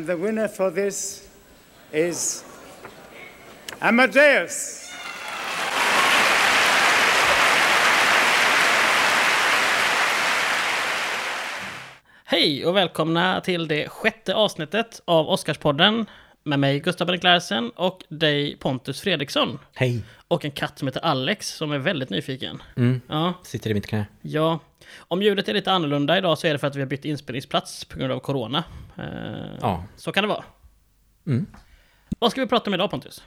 the winner for this is Amadeus. Hej och välkomna till det sjätte avsnittet av Oscarspodden med mig Gustav Bengt Larsen och dig Pontus Fredriksson. Hej! Och en katt som heter Alex som är väldigt nyfiken. Mm. Ja, Sitter i mitt knä. ja. Om ljudet är lite annorlunda idag så är det för att vi har bytt inspelningsplats på grund av corona. Eh, Ja. Så kan det vara. Mm. Vad ska vi prata om idag Pontus?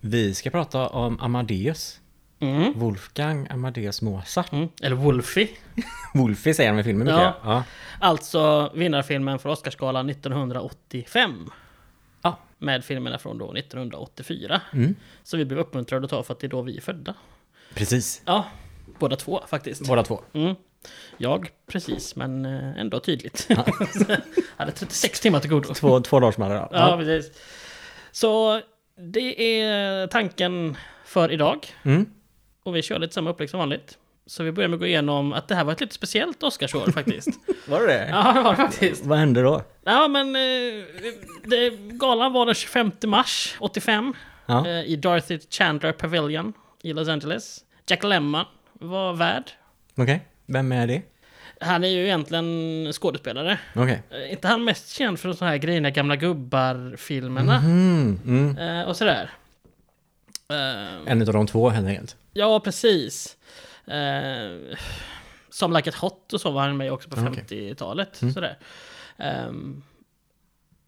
Vi ska prata om Amadeus. Mm. Wolfgang Amadeus Mozart. Mm. Eller Wolfie. Wolfie säger han i filmen Ja. mycket. Ja. Ja. Alltså vinnarfilmen för Oscarsgalan 1985. Ja. Med filmerna från då 1984. Mm. Så vi blev uppmuntrade att ta för att det är då vi är födda. Precis. Ja, båda två faktiskt. Båda två. Mm. Jag precis, men eh, ändå tydligt. hade 36 timmar till godo. Två, två dagar som hade det. Ja, precis. Så det är tanken för idag. Mm. Och vi kör lite samma upplägg som vanligt. Så vi börjar med att gå igenom att det här var ett lite speciellt Oscarsår faktiskt. Var det det? ja, det var det faktiskt. Vad hände då? Ja, men eh, det, galan var den 25 mars 85 Ja. eh, i Dorothy Chandler Pavilion i Los Angeles. Jack Lemmon var värd. Okej. Vem är det? Han är ju egentligen skådespelare. Okej. Eh, inte han mest känd för de så här grina gamla gubbar-filmerna Mm. Mm. eh, och sådär. Eh, En av de två helt enkelt. ja, precis. Eh, som Like It Hot och så var han med också på Okej. 50-talet. Sådär. Ehm,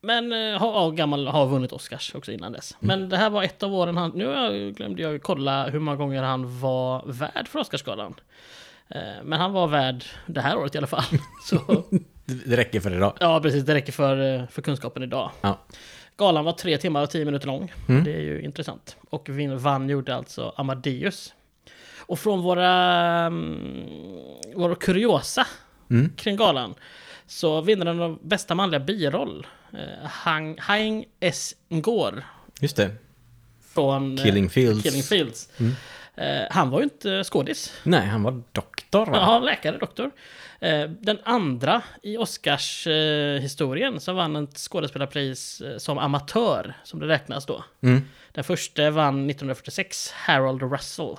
men eh, har, har, gammal, har vunnit Oscars också innan dess. Men det här var ett av åren han... Nu har jag- glömde jag ju kolla hur många gånger han var värd för Oscarsgalan. Eh, Men han var värd det här året i alla fall. Så Det det räcker för idag. Ja, precis. Det räcker för, eh, för kunskapen idag. Ja. Galan var tre timmar och tio minuter lång. Mm. Det är ju intressant. Och vin- vann gjorde alltså Amadeus. Och från våra, mm, våra kuriosa Mm. kring galan så vinnaren av bästa manliga biroll, eh, Hang, Hang S. Ngor Just det. från eh, Killing Fields. Mm. Killing Fields. Eh, han var ju inte skådis. Nej, han var doktor va? Ja, läkare, doktor. Eh, Den andra i Oscarshistorien som vann ett skådespelarpris eh, som amatör, som det räknas då. Mm. Den första vann 1946, Harold Russell.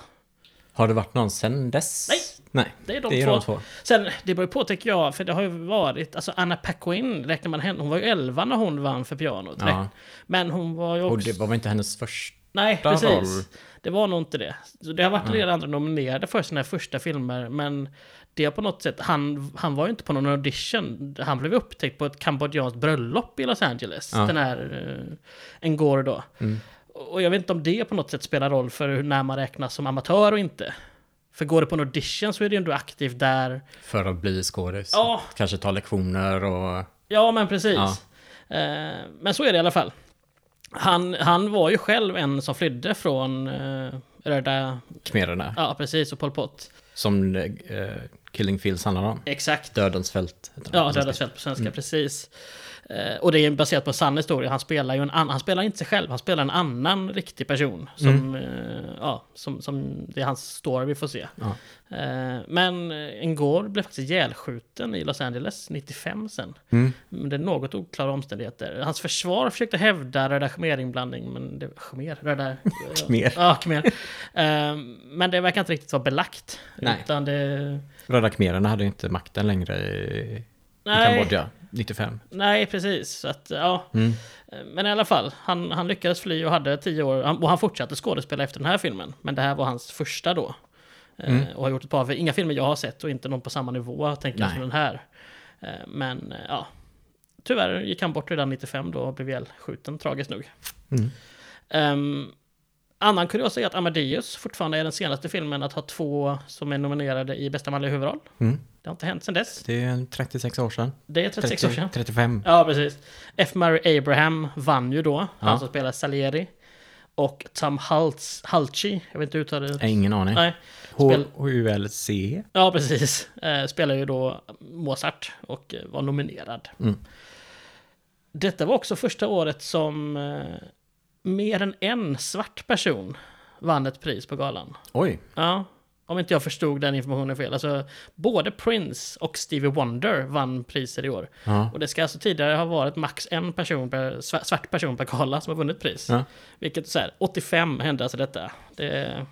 Har det varit någon sen dess? Nej. Nej. Det är de, det är två. de två. Sen, det beror ju på tycker jag, för det har ju varit, alltså Anna Paquin, räknar man henne, hon var ju 11 när hon vann för pianot. Ja. räkn- Men hon var ju också... Och det var väl inte hennes första? Nej, roll. precis. Det var nog inte det. Så det har Mm. varit en del andra nominerade för sina första filmer, men det har på något sätt, han, han var ju inte på någon audition. Han blev upptäckt på ett kambodjanskt bröllop i Los Angeles, Ja. Mm. den här eh, en går då. Och jag vet inte om det på något sätt spelar roll för hur- när man räknas som amatör och inte. För går det på en audition så är det ju ändå aktivt där. För att bli skådis? Ja. Kanske ta lektioner och... Ja, men precis. Ja. Eh, men så är det i alla fall. Han, han var ju själv en som flydde från eh, Röda Khmererna. Ja, precis. Och Pol Pot. Som eh, Killing Fields handlar om. Exakt. Dödens fält. heter den Ja, på Döda svenska. svält på svenska, precis. Eh, och det är baserat på en sann historia. Han spelar ju en annan, han spelar inte sig själv, han spelar en annan riktig person. Som, eh, ja, som, som det är hans story vi får se. Ja. Eh, men en gård blev faktiskt ihjälskjuten i Los Angeles 95 sen. Men det är något oklara omständigheter. Hans försvar försökte hävda röda khmer-inblandning, men det... Khmer? Röda... Khmer. Ja, khmer. Eh, men det verkar inte riktigt vara belagt. Nej. Utan det... Röda khmererna hade ju inte makten längre i, i Nej. Kambodja 95. Nej, precis. Så att, ja. Men i alla fall, han, han lyckades fly och hade tio år. han- Och han fortsatte skådespela efter den här filmen. Men det här var hans första då. Eh, Och har gjort ett par, för inga filmer jag har sett och inte någon på samma nivå, tänker jag, Nej. som den här. Eh, Men eh, ja, tyvärr gick han bort redan 95 då och blev ihjälskjuten, tragiskt nog. Mm. Ehm, annan kuriosa är att Amadeus fortfarande är den senaste filmen att ha två som är nominerade i bästa manliga huvudroll. Det har inte hänt sedan dess. Mm. Det är 36 år sedan. Det är 36 år sedan. 35. Ja, precis. F. Murray Abraham vann ju då, han Ja. som spelar Salieri. Och Tom Haltz, Halci, jag vet inte hur uttalar det. Nej, ingen aning. Nej. Spel- H-U-L-C. Ja, precis. Eh, spelar ju då Mozart och eh, var nominerad. Detta var också första året som eh, mer än en svart person vann ett pris på galan. Oj, Ja. Om inte jag förstod den informationen fel. Alltså, både Prince och Stevie Wonder vann priser i år. Ja. Och det ska alltså tidigare ha varit max en person per, sva- svart person per gala som har vunnit pris. Ja. Vilket så här, 85 hände alltså detta. Det är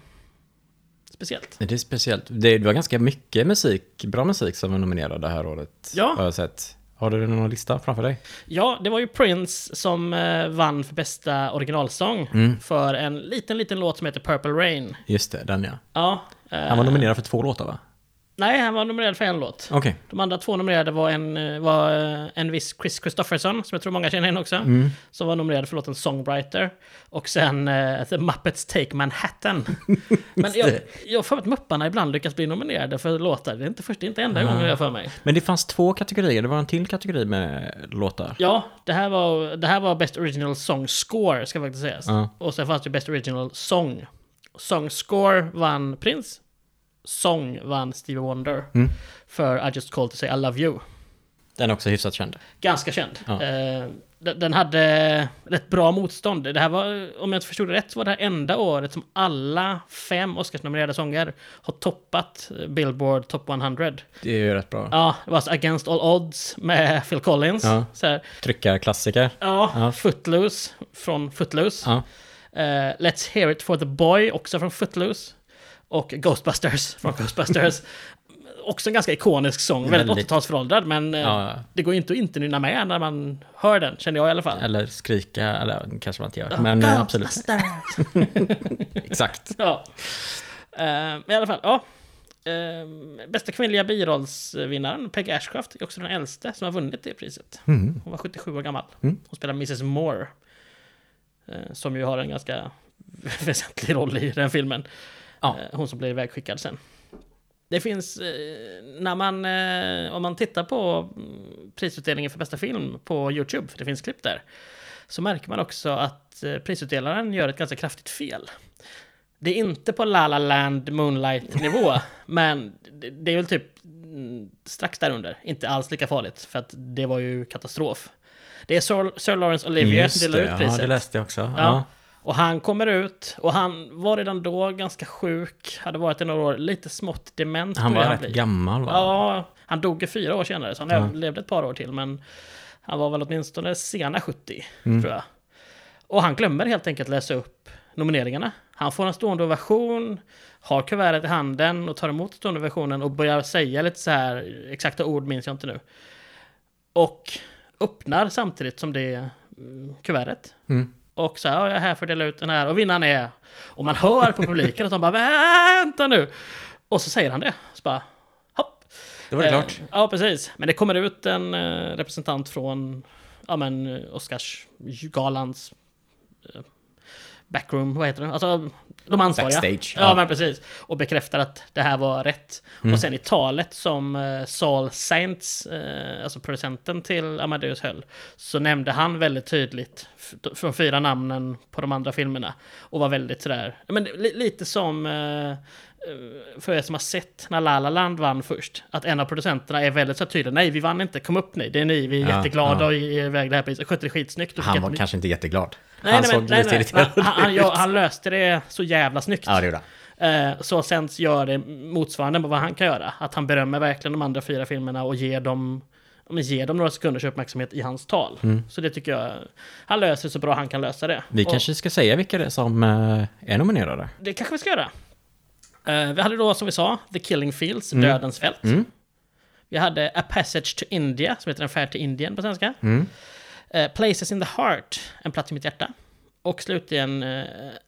speciellt. Det är speciellt. Det, det var ganska mycket musik, bra musik som var nominerad det här året. Ja. Har jag sett. Har du någon lista framför dig? Ja, det var ju Prince som eh, vann för bästa originalsång Mm. för en liten, liten låt som heter Purple Rain. Just det, den ja. Ja, eh, Han var nominerad för två låtar va? nej, han var nominerad för en låt. Okej. De andra två nominerade var en, eh, var eh, en viss Chris Christofferson, som jag tror många känner in också, som var nominerad för låten Songwriter, och sen eh, The Muppets Take Manhattan. Men jag jag har för mig att Mupparna ibland lyckas bli nominerade för låtar. Det är inte första, inte enda gången jag har för mig. Men det fanns två kategorier. Det var en till kategori med låtar. Ja, det här var, det här var Best Original Song Score, ska faktiskt sägas. Ja. Och sen fanns det Best Original Song. Song Score vann Prince. Song vann Stevie Wonder för I Just Called To Say I Love You. Den är också hyfsat känd. Ganska känd. Ja. Eh, den den hade rätt bra motstånd. Det här var, om jag inte förstod det rätt, så var det här enda året som alla fem Oscarsnominerade sånger har toppat eh, Billboard Top 100. Det är ju rätt bra. Ja, det var alltså Against All Odds med Phil Collins. Ja. Så här, Tryckarklassiker. ja, Ja. Footloose från Footloose. Ja. Eh, Let's Hear It For The Boy, också från Footloose. Och Ghostbusters från Ghostbusters. också en ganska ikonisk sång, väldigt Väldigt. 80-talsföråldrad, men eh, Ja, ja. det går ju inte att inte nynna med när man hör den, känner jag i alla fall. Eller skrika, eller kanske man inte gör. Men eh, Mm, absolut, Ghostbusters! exakt. ja. Eh, men i alla fall, ja. Eh, bästa kvinnliga birollsvinnaren, Peg Ashcroft, är också den äldste som har vunnit det priset. Hon var 77 år gammal. Hon spelar Mrs Moore. eh, Som ju har en ganska väsentlig roll i den filmen. Ja. Eh, Hon som blir ivägskickad sen. Det finns, eh, när man, eh, om man tittar på mm, prisutdelningen för bästa film på YouTube, för det finns klipp där, så märker man också att eh, prisutdelaren gör ett ganska kraftigt fel. Det är inte på La La Land Moonlight-nivå, men det- det är väl typ mm, strax därunder. Inte alls lika farligt, för att det var ju katastrof. Det är Sir, Sir Lawrence Olivier Just som delar ut det, ja, priset. det läste jag också. Ja. Ja. Och han kommer ut och han var redan då ganska sjuk, hade varit i några år, lite smått dement. Han var började rätt bli. gammal va? Ja, han dog ju fyra år senare, så han överlevde ett par år till. Men han var väl åtminstone sena 70, tror jag. Och han glömmer helt enkelt läsa upp nomineringarna. Han får en stående ovation, har kuvertet i handen och tar emot stående ovationen och börjar säga lite så här, exakta ord minns jag inte nu. Och öppnar samtidigt som det mm, kuvertet. Och så här, "Ja, jag är här för att dela ut den här och vinnaren är... Och man hör på publiken att de bara vänta nu! Och så säger han det. Så bara, hopp! Det var det Eh, klart. Ja, precis. Men det kommer ut en eh, representant från ja, men, eh, Oscarsgalans eh, backroom, vad heter det? Alltså, de ansvariga. Backstage, Ja, ja. Mm. men precis. Och bekräftar att det här var rätt. Och sen i talet som eh, Saul Saints, eh, alltså producenten till Amadeus höll, så nämnde han väldigt tydligt f- från fyra namnen på de andra filmerna. Och var väldigt sådär, ja, men li- lite som eh, för er som har sett när La La Land vann först, att en av producenterna är väldigt så här tydlig. Nej, vi vann inte. Kom upp ni. Det är ni. Vi är Ja, jätteglada ja. och ger iväg det här priset. Skötte det skitsnyggt. Du fick Han ett var nytt- kanske inte jätteglad. Nej, han nej, men- såg nej, lite nej. irriterad Men han, han, ut. ja, han löste det så jävla snyggt. Ja, det gjorde han. Eh, Så sen gör det motsvarande på vad han kan göra. Att han berömmer verkligen de andra fyra filmerna och ger dem, ja, men ger dem några sekunders uppmärksamhet i hans tal. Så det tycker jag, han löser så bra han kan lösa det. Mm. Vi Och kanske ska säga vilka det är som eh, är nominerade. Det kanske vi ska göra. Eh, Vi hade då som vi sa, The Killing Fields, Mm. Dödens fält. Vi hade A Passage to India, som heter En färd till Indien på svenska. Mm. Eh, Places in the Heart, En plats i mitt hjärta. Och slutligen eh,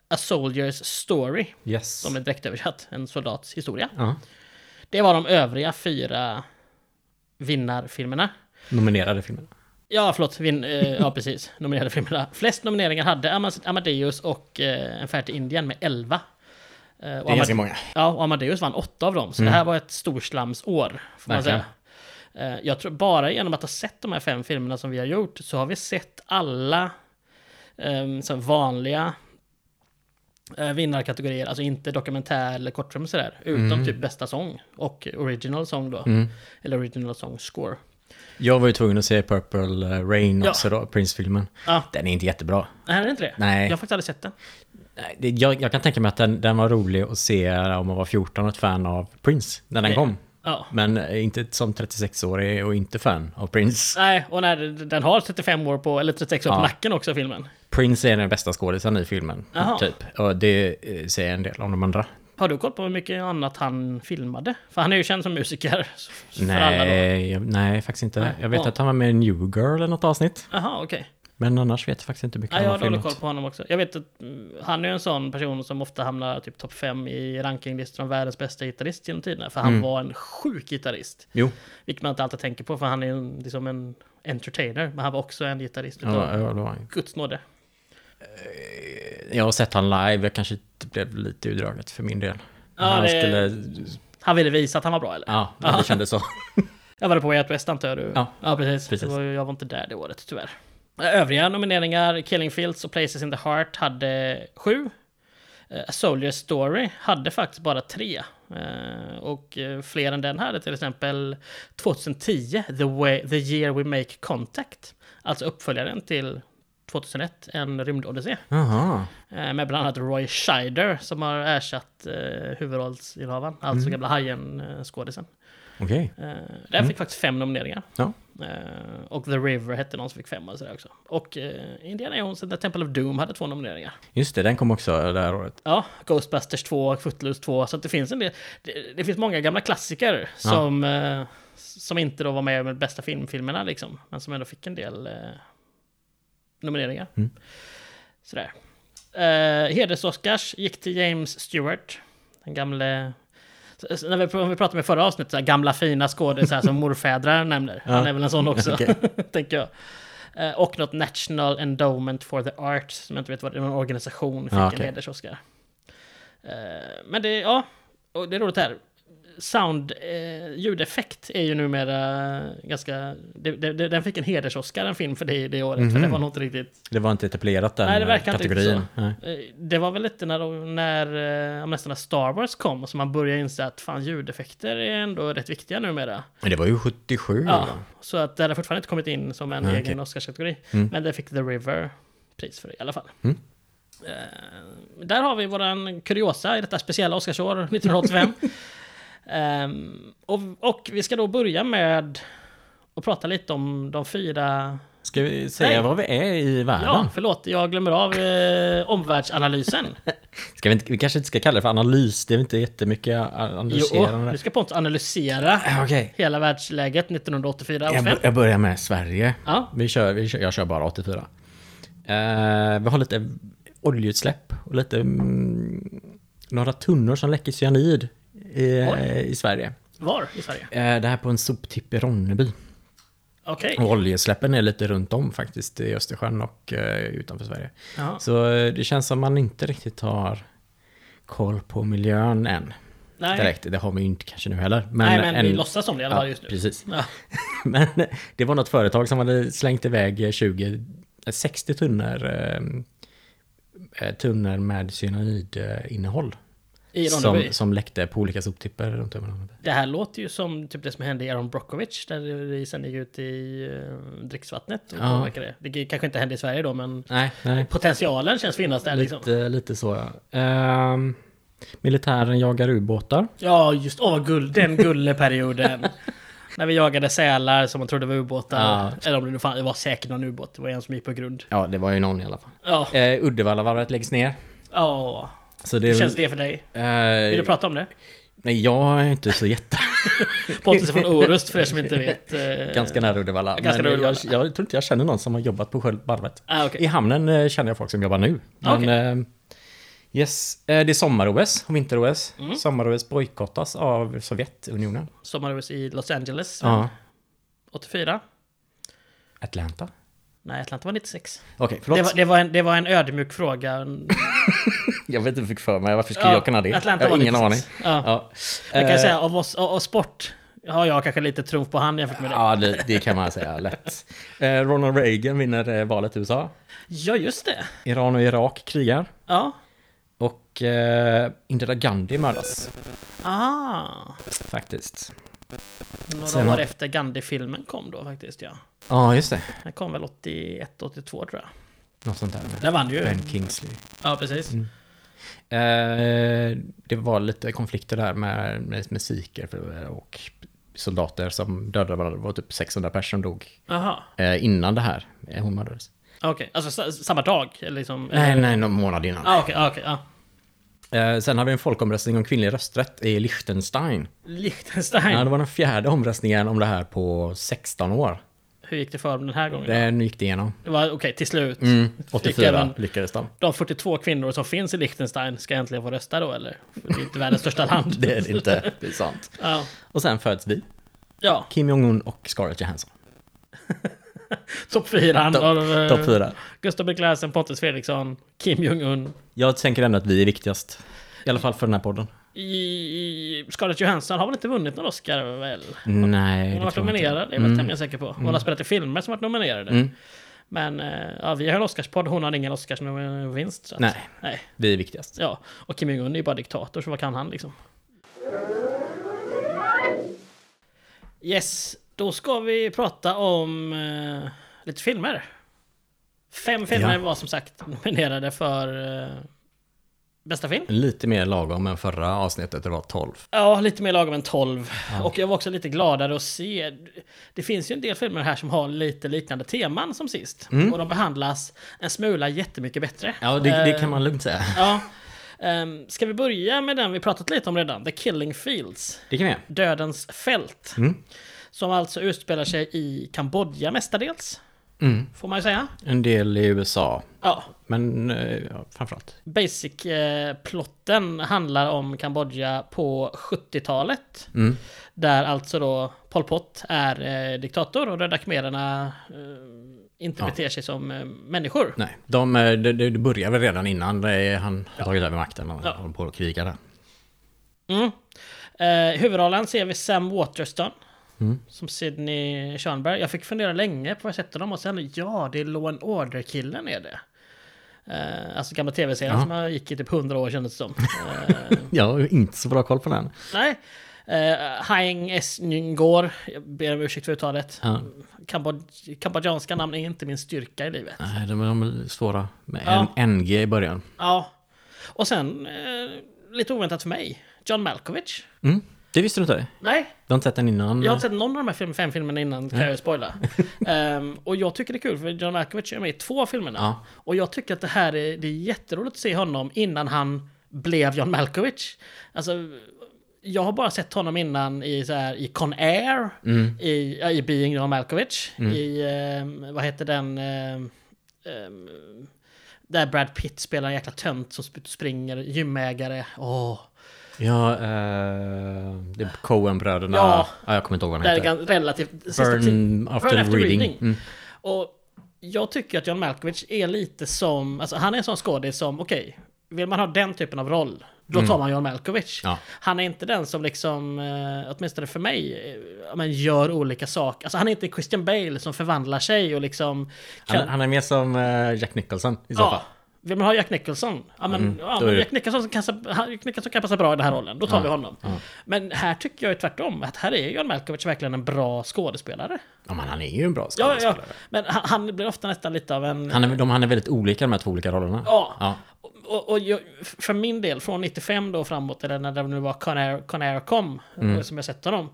A Soldier's Story, Yes. som är direkt översatt, en soldats historia. Ja. Det var de övriga fyra vinnarfilmerna. Nominerade filmerna. Ja, förlåt. Vin, eh, ja, precis. Nominerade filmerna. Flest nomineringar hade Amas- Amadeus och eh, En färd till Indien med 11. Eh, och Det är Amade- ganska många. Ja, och Amadeus vann åtta av dem. Så det här var ett storslamsår, får man Mm. Verkligen. säga. Eh, Jag tror bara genom att ha sett de här fem filmerna som vi har gjort så har vi sett alla ehm, så här vanliga eh, vinnarkategorier, alltså inte dokumentär eller kortfilm och sådär, utom Mm. typ bästa sång och original sång då, eller original sång score. Jag var ju tvungen att se Purple eh, Rain Ja. också då, Prince-filmen. Ja. Den är inte jättebra. Nej, det är inte det. Nej. Jag har faktiskt aldrig sett den. Nej, det- Jag, jag kan tänka mig att den, den var rolig att se om man var 14 och ett fan av Prince när den Nej. kom. Ja. Men eh, inte som 36-årig och inte fan av Prince. Nej, och när den har 35 år på, eller 36 år på Ja. nacken också, filmen. Prince är den bästa skådisen i filmen, Jaha. typ. Och det eh, säger en del om de andra. Har du koll på hur mycket annat han filmade? För han är ju känd som musiker. så- För alla då. Nej, jag, nej, faktiskt inte. Nej. Jag vet Ja. att han var med i New Girl i något avsnitt. Jaha, okej. Men annars vet jag faktiskt inte mycket Nej, jag har om dålig filmen. koll på honom också. Jag vet att mm, han är ju en sån person som ofta hamnar typ topp 5 i rankinglistor om världens bästa gitarrist genom tiderna. För han Mm. var en sjuk gitarrist. Jo, Vilket man inte alltid tänker på, för han är ju en- liksom en entertainer. Men han var också en gitarrist ja, utav ja, det var han ju. guds nåde. Jag har sett han live, jag kanske inte blev lite utdraget för min del. Ja, han det- skulle... Han ville visa att han var bra, eller? Ja, det kändes så. Jag var på Way Out West antar du? Ja, ja precis. precis. Det var, ju- jag var inte där det året tyvärr. Eh, Övriga nomineringar, Killing Fields och Places in the Heart hade sju. Eh, A Soldier's Story hade faktiskt bara tre. Eh, Och eh, fler än den hade till exempel 2010, The, Way, the Year We Make Contact. Alltså uppföljaren till 2001, En rymdodyssé. Jaha. Eh, Med bland annat Roy Scheider som har ersatt eh, huvudrollsinnehavaren, alltså Mm. gamla Hajen-skådisen. Okej. Eh, den fick faktiskt fem nomineringar. Ja. Eh, och The River hette någon som fick fem och sådär också. Och eh, Indiana Jones and The Temple of Doom hade två nomineringar. Just det, den kom också det här året. Ja, Ghostbusters 2, Footloose 2, så att det finns en del. Det, det finns många gamla klassiker som, eh, som inte då var med i de bästa filmfilmerna liksom, men som ändå fick en del eh, nomineringar. Sådär. Eh, Hedersoscars gick till James Stewart, den gamle... så- så När vi, om vi pratade med förra avsnittet, så här, gamla fina skådisar som morfädrar nämner. Han är väl en sån också, Okej. tänker jag. Eh, Och något National Endowment for the Arts, som jag inte vet vad det är, en organisation fick Ja, en okej. hedersoscar. Eh, Men det, ja, och det är roligt här. Sound, eh, ljudeffekt är ju numera ganska... Det, det, det, den fick en hedersoscar, en film, för det, det året. För det Mhm. var nog inte riktigt... Det var inte etablerat den Nej, det verkar inte kategorin. riktigt så. Nej. Eh, Det var väl lite när, de- när, eh, nästan när Star Wars kom, som man började inse att fan, ljudeffekter är ändå rätt viktiga numera. Men det var ju 77. Ja, va? så att det hade fortfarande inte kommit in som en Nej, egen okej. Mm. Oscarskategori. Men det fick The River pris för det, i alla fall. Eh, där har vi våran kuriosa i detta speciella Oscarsår 1985. Ehm, och, och vi ska då börja med att prata lite om de fyra... Ska vi säga Nej. vad vi är i världen? Ja, förlåt, jag glömmer av eh, omvärldsanalysen. Ska vi, inte, vi kanske inte ska kalla det för analys, det är väl inte jättemycket a- analyserande. Jo, vi ska Pontus analysera Okej. hela världsläget 1984 och fem. Jag, bör- jag börjar med Sverige. Ja. Vi kör, vi kör, jag kör bara 84. Eh, vi har lite oljeutsläpp och lite mm, några tunnor som läcker cyanid i, eh, i Sverige. Var i Sverige? Eh, det här på en soptipp i Ronneby. Okej. Och oljeutsläppen är lite runt om faktiskt i Östersjön och eh, utanför Sverige. Ja. Så eh, det känns som man inte riktigt har koll på miljön än. Nej. Direkt. Det har vi ju inte kanske nu heller. Men Nej, men vi en- låtsas som det i alla Ja, fall just nu. precis. Ja. Men eh, det var något företag som hade slängt iväg 20, eh, 60 tunnor, eh, eh, tunnor med cyanidinnehåll. I Som, Ronneby. som läckte på olika soptippar runt om i Ronneby. Det här låter ju som typ det som hände i Aaron Brockovich, där isen gick ut i eh, dricksvattnet. Och Ja. påverkade det. det kanske inte hände i Sverige då, men Nej, nej. potentialen känns finnas där liksom. Lite, lite så ja. Ehm, militären jagar ubåtar. Ja, just åh, vad gull, den gulleperioden. När vi jagade sälar som man trodde var ubåtar. Ja. Eller om det nu fan, det var säkert någon ubåt. Det var en som gick på grund. Ja, det var ju någon i alla fall. Ja, Eh, Uddevallavarvet läggs ner. ja. Så det, Hur är känns väl- det för dig? eh, Vill du prata om det? Nej, jag är inte så jätte... Pontus är från Orust för er som inte vet. eh, ganska nära Uddevalla. Ganska men nära jag, Uddevalla. jag tror inte jag känner någon som har jobbat på själva varvet. Ah, okej. I hamnen eh, känner jag folk som jobbar nu. Ah, Men, eh, yes, eh, det är sommar-OS och vinter-OS. Mm. Sommar-OS bojkottas av Sovjetunionen. Sommar-OS i Los Angeles. Ja. 84. Atlanta? Nej, Atlanta var 96. Okej, förlåt. Det var, det, var en, det var en ödmjuk fråga. Jag vet inte vad jag fick för mig. Varför skulle Ja, jag kunna det? Atlanta jag har var ingen aning. 96. Ja. Ja. Jag kan Eh, säga, av, oss, av, av sport har jag kanske lite trumf på hand jämfört med dig. Ja, det, det kan man säga lätt. Eh, Ronald Reagan vinner eh, valet i USA. Ja, just det. Iran och Irak krigar. Ja. Och eh, Indira Gandhi mördas, Ah. faktiskt. Några Sen år har- efter Gandhi-filmen kom då faktiskt, ja. Ja, just det. Den kom väl 81-82 tror jag. Något sånt där. Den vann ju. Ben Kingsley. Ja, precis. Eh, det var lite konflikter där med, med, med sikher för- och soldater som dödade varandra. Det var typ 600 personer som dog Aha. eh, innan det här. Eh, hon mördades. Okej, alltså sa- samma dag? eller Liksom. Nej, nej, någon månad innan. Ah, okej, ah, okej. ah. Eh, sen hade vi en folkomröstning om kvinnlig rösträtt i Liechtenstein. Liechtenstein. Ja, det var den fjärde omröstningen om det här på 16 år. Hur gick det för dem den här gången? Det, Den gick det igenom. var okej, till slut. Mm, Fick 84 även- lyckades de. De 42 kvinnor som finns i Liechtenstein ska äntligen få rösta då, eller? För Det är inte världens största land. Det är det inte, det är sant. Ja. Och sen föds vi. ja, Kim Jong-Un och Scarlett Johansson. topp fyran. Topp- av, eh, Topp fyra. Gustav Beklasen, Pontus Fredriksson, Kim Jong-Un. Jag tänker ändå att vi är viktigast. I alla fall för den här podden. I, i Scarlett Johansson har väl inte vunnit någon Oscar väl? Nej, Hon har varit det tror jag inte. Mm. nominerad, det är jag väl tämligen säker på. Hon har spelat i filmer som varit nominerade. Men eh, ja, vi har en Oscarspodd, hon har ingen Oscarsvinst. så att- Nej. Nej. Vi är viktigast. Ja, och Kim Jong-Un är ju bara diktator, så vad kan han liksom? Yes, då ska vi prata om eh, lite filmer. Fem filmer Ja. var som sagt nominerade för eh, bästa film. Lite mer lagom än förra avsnittet, det var 12. Ja, lite mer lagom än 12. Och jag var också lite gladare att se. Det finns ju en del filmer här som har lite liknande teman som sist. Och de behandlas en smula jättemycket bättre. Mm. Ja, det, det Eh, kan man lugnt säga. Ja. Ehm, ska vi börja med den vi pratat lite om redan? The Killing Fields. Det kan vi göra. Dödens fält. Som alltså utspelar sig i Kambodja mestadels. Får man ju säga. En del i USA, Ja. men eh, ja, framförallt. Basic-plotten eh, handlar om Kambodja på 70-talet. Där alltså då Pol Pot är eh, diktator och röda khmererna eh, inte beter sig som eh, människor. Nej, de, eh, det, det det börjar väl redan innan eh, han har tagit över makten och Ja. håller på att kriga där. Mm. Eh, I huvudrollen ser vi Sam Waterston. Mm. Som Sidney Schönberg. Jag fick fundera länge på vad jag sett honom och sen ja, det är Law and Order-killen är det. Eh, alltså gamla tv-serien Ja. som jag gick i typ 100 år kändes det som. Eh, Jag har ju inte så bra koll på den. nej. Eh, Haeng S. Nyngor. Jag ber om ursäkt för uttalet. Ja. Kambod- Kambodjanska namn är inte min styrka i livet. Nej, de, de är svåra med Ja. en NG i början. Ja. Och sen, eh, lite oväntat för mig, John Malkovich. Mm. Det visste du inte? Nej, Du har inte sett den innan? Jag har inte sett någon av de här film, fem filmerna innan, kan jag ju spoila. Ehm, och jag tycker det är kul, för John Malkovich är med i två av filmerna. Ja. Och jag tycker att det här är, det är jätteroligt att se honom innan han blev John Malkovich. Alltså, jag har bara sett honom innan i, så här, i Con Air, Mm. i, ja, i Being John Malkovich, i, ehm, vad heter den, ehm, ehm, där Brad Pitt spelar en jäkla tönt som sp- springer, gymägare. Åh. Ja, eh, det är Coen-bröderna. Ja. Ja. jag kommer inte ihåg vad Där han är heter. gan- relativt... sista ti- Burn after, Burn after reading. reading. Mm. Och jag tycker att John Malkovich är lite som, alltså han är en sån skådis som, okej, vill man ha den typen av roll, då tar man John Malkovich. Mm. Ja. Han är inte den som liksom, eh, åtminstone för mig, eh, ja, men gör olika saker. Alltså han är inte Christian Bale som förvandlar sig och liksom... Han, han är mer som eh, Jack Nicholson i så ja, fall. Mm. vill man ha Jack Nicholson? Ja, men, ja, då men är det- Jack, Nicholson kan, han- Jack Nicholson kan passa bra i den här rollen, då tar vi honom. Men här tycker jag ju tvärtom, att här är John Malkovich verkligen en bra skådespelare. Ja, men han är ju en bra Ja, skådespelare. ja, men han, han blir ofta nästan lite av en... Han, är, de, han är väldigt olika de här två olika rollerna. Ja. ja. Och, och jag, för min del, från 95 då framåt, eller när det nu var Conair, Conair kom, Mm. eh, som jag sett honom,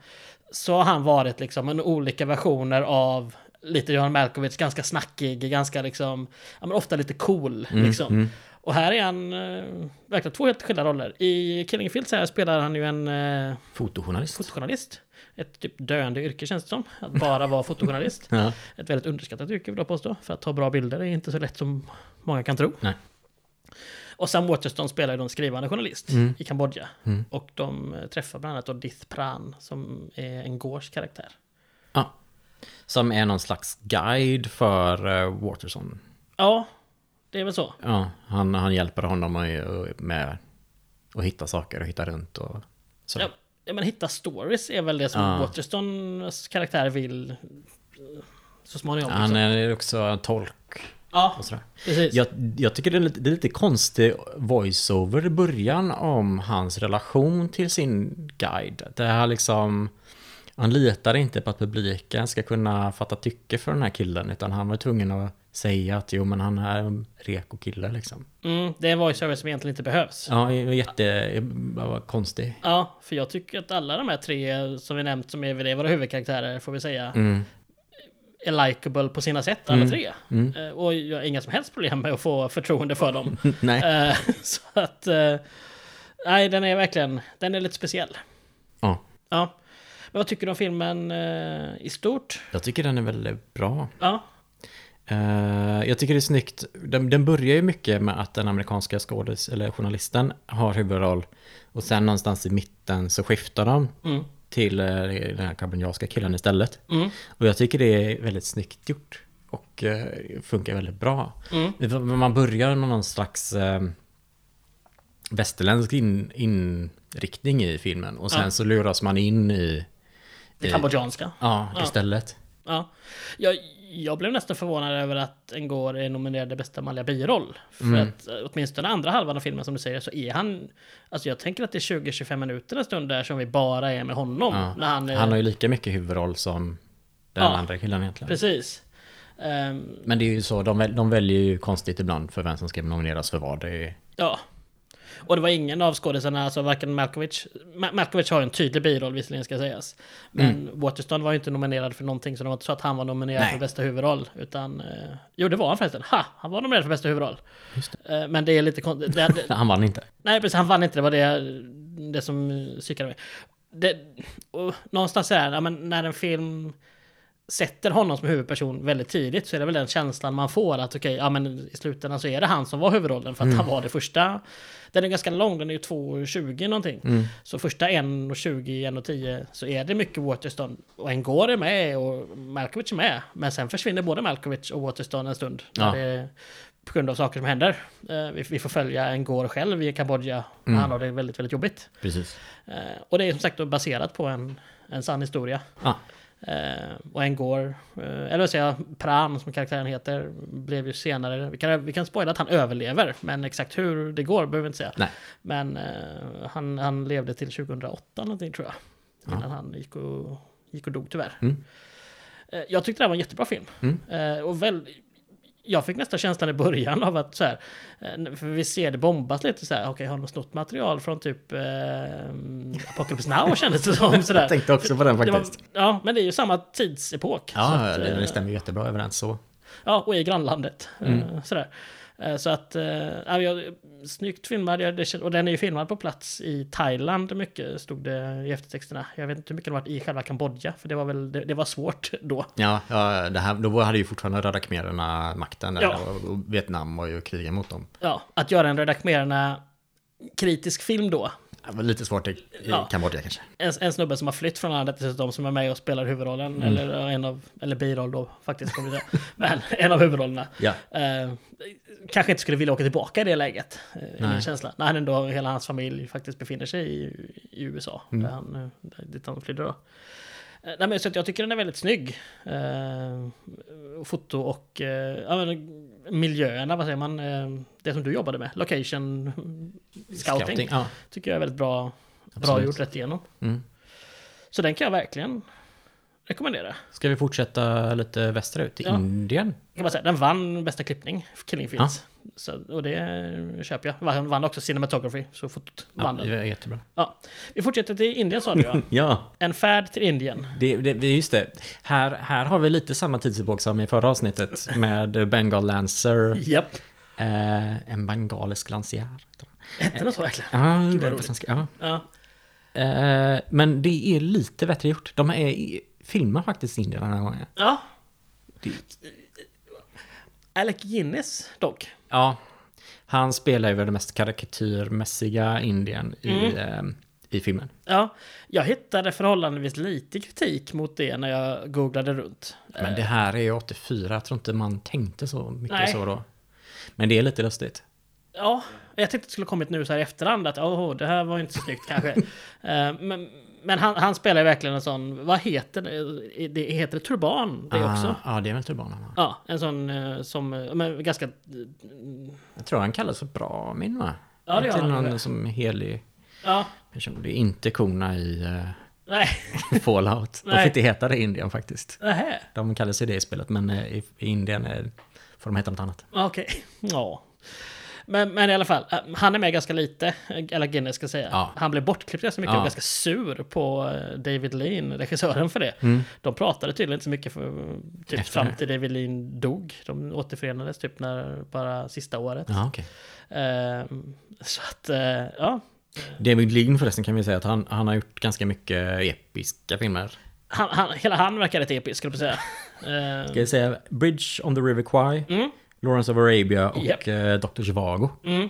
så har han varit liksom en olika versioner av lite Johan Malkovich, ganska snackig, ganska liksom, ja, men ofta lite cool Mm, liksom. Och här är han eh, verkligen två helt skilda roller. I Killing Fields här spelar han ju en eh, Fotojournalist. fotojournalist. Ett typ döende yrke känns det som, att bara vara fotojournalist. Ja. Ett väldigt underskattat yrke vill jag påstå, för att ta bra bilder är inte så lätt som många kan tro. Nej. Och Sam Waterston spelar ju då en skrivande journalist Mm. i Kambodja. Och de eh, träffar bland annat då Dith Pran som är en gårs karaktär. Ja. Som är någon slags guide för uh, Waterson. Ja, det är väl så. Ja, han, han hjälper honom att- med att hitta saker och hitta runt och så. Ja, ja, men hitta stories är väl det som Ja. Waterstons karaktär vill eh, så småningom. Han liksom. är också en tolk ja och sådär. precis. Jag, jag tycker det är, lite, det är lite konstig voiceover i början om hans relation till sin guide. Det här liksom... Han litar inte på att publiken ska kunna fatta tycke för den här killen utan han var tvungen att säga att jo men han är en reko kille liksom. Mm, det är en voice service som egentligen inte behövs. Ja, det var jätte... Bara var konstig. Ja, för jag tycker att alla de här tre som vi nämnt som är det, våra huvudkaraktärer får vi säga är likable på sina sätt alla tre. Eh, Och jag har inga som helst problem med att få förtroende för dem. Nej. Eh, Så att... eh, Nej, den är verkligen... Den är lite speciell. Ja. Ja. Men vad tycker du om filmen eh, i stort? Jag tycker den är väldigt bra. Ja. Eh, jag tycker det är snyggt. Den, den börjar ju mycket med att den amerikanska skådis, eller journalisten, har huvudroll. Och sen någonstans i mitten så skiftar de till eh, den här kambodjanska killen istället. Och jag tycker det är väldigt snyggt gjort. Och eh, funkar väldigt bra. Men Man börjar med någon slags eh, västerländsk in, inriktning i filmen. Och sen så luras man in i... Det i- kambodjanska. Ja, Ja. istället. Ja. Jag, jag blev nästan förvånad över att Ngor är nominerad i bästa manliga biroll. För Mm. att eh, åtminstone andra halvan av filmen som du säger så är han... Alltså jag tänker att det är 20-25 minuter en stund där som vi bara är med honom. Ja. När han, är, Han har ju lika mycket huvudroll som den Ja. andra killen egentligen. Precis. Ehm, Men det är ju så, de, väl, de väljer ju konstigt ibland för vem som ska nomineras för vad. Det är, ja. Och det var ingen av skådisarna, alltså varken Malkovich... Ma- Malkovich har ju en tydlig biroll visserligen ska sägas. Men Waterston var ju inte nominerad för någonting, så det var inte så att han var nominerad Nej. för bästa huvudroll. Utan... Eh, jo, det var han förresten. Ha! Han var nominerad för bästa huvudroll. Eh, men det är lite konstigt. Det, det, han vann inte. Nej, precis. Han vann inte. Det var det, det som eh, psykade mig. Det, och någonstans är ja, men när en film sätter honom som huvudperson väldigt tidigt så är det väl den känslan man får att okej, ja men i slutändan så är det han som var huvudrollen för att han var det första. Den är ganska lång, den är ju 2.20 någonting. Så första 1.20, 1.10 så är det mycket Waterston. Och en går är med och Malkovich är med. Men sen försvinner både Malkovich och Waterston en stund. när Ja. det, på grund av saker som händer. Eh, vi, vi får följa en går själv i Kambodja. Mm. Han har det väldigt, väldigt jobbigt. Precis. Eh, och det är som sagt då baserat på en, en sann historia. Ja, Eh, och en går, eh, eller vad säger jag, Pran som karaktären heter, blev ju senare, vi kan, vi kan spoila att han överlever, men exakt hur det går behöver vi inte säga. nej. Men eh, han, han levde till 2008 någonting tror jag. Innan han gick och, gick och dog tyvärr. Mm. Eh, jag tyckte det här var en jättebra film. Eh, och väl, jag fick nästan känslan i början av att så här, eh, för vi ser det bombas lite så här, okej har de snott material från typ eh, Apocalypse Now kändes det som. Så där. Jag tänkte också på den Det var, faktiskt. ja, men det är ju samma tidsepok. så Ja, att, det, eh, det stämmer jättebra överens så. Ja, och i grannlandet. Mm. Eh, Sådär. Eh, Så att, eh, ja, jag, snyggt filmad, jag, det, kän- och den är ju filmad på plats i Thailand mycket, stod det i eftertexterna. Jag vet inte hur mycket det varit i själva Kambodja, för det var väl, det, det var svårt då. Ja, ja det här, då hade ju fortfarande röda khmererna makten. där. Ja. Och- Och Vietnam var ju krigen mot dem. Ja, att göra en Röda khmererna kritisk film då. Det var lite svårt i, i Ja. Kambodja kanske. En, en snubbe som har flytt från landet dessutom, som är med och spelar huvudrollen, Mm. eller eh, en av, eller biroll då faktiskt, får vi säga. men en av huvudrollerna. Ja. Eh, kanske inte skulle vilja åka tillbaka i det läget. Eh, är min Nej. känsla. När han ändå, hela hans familj faktiskt befinner sig i, i USA. Mm. Där han, eh, där- dit han flydde då. Eh, nej, men, så att jag tycker den är väldigt snygg. Eh, foto och eh, ja, men, miljöerna, vad säger man? Eh, det som du jobbade med, location scouting. Ja. Tycker jag är väldigt bra, bra Absolut. gjort rätt igenom. Mm. Så den kan jag verkligen rekommendera. Ska vi fortsätta lite västerut? Till Ja. Indien? kan man säga, den vann bästa klippning, Killing Fields. Så, och det köper jag. Den vann också cinematography, så fotot Ja, vann det den. är jättebra. Ja. Vi fortsätter till Indien sa du ja. Ja, En färd till Indien. Det, det, det- just det. Här, här har vi lite samma tidsepok som i förra avsnittet med Bengal Lancer. Japp. Eh, en bengalisk lancier. Hette den så verkligen? Ja, Gud, Ah, det vad är på roligt. svenska. Ja. Ja. Eh, men det är lite bättre gjort. De är, i- filmar faktiskt Indien den här gången. ja. Alec Guinness dock. Ja, han spelar ju väl det mest karikatyrmässiga Indien i, eh, i filmen. Ja, jag hittade förhållandevis lite kritik mot det när jag googlade runt. Men det här är ju 84, jag tror inte man tänkte så mycket Nej. så då. Men det är lite lustigt. Ja, jag tänkte att det skulle kommit nu så här i efterhand att åh, det här var inte så snyggt kanske. Eh, men men han, han spelar ju verkligen en sån, vad heter det? det heter det turban det också? Ah, ja, det är väl turbanen. va? Ja, en sån eh, som, eh, men ganska... Jag tror han kallas för Brahmin va? Ja, det gör Till han, tror någon jag. som helig Ja, person. Det är inte korna i eh, nej, Fallout. De Nej. får inte heta det i Indien faktiskt. nähä. De kallas ju det i spelet, men eh, i, i Indien är får de heta något annat. Ja, Okej. Ja. Men, men i alla fall, eh, han är med ganska lite, eh, eller Guinness ska jag säga. Ja. Han blev bortklippt ganska mycket Ja. och ganska sur på eh, David Lean, regissören för det. De pratade tydligen inte så mycket för, typ, Mm. Efter fram det. till David Lean dog. De återförenades typ när, bara sista året. Ja, okej. Ehm, så att, eh, ja. David Lean förresten kan vi säga att han, han har gjort ganska mycket episka filmer. Han, han, hela han verkar rätt episk, skulle jag säga. Ehm, Ska jag säga Bridge on the River Kwai, Mm. Lawrence of Arabia och Japp. eh, Dr. Zhivago. Mm.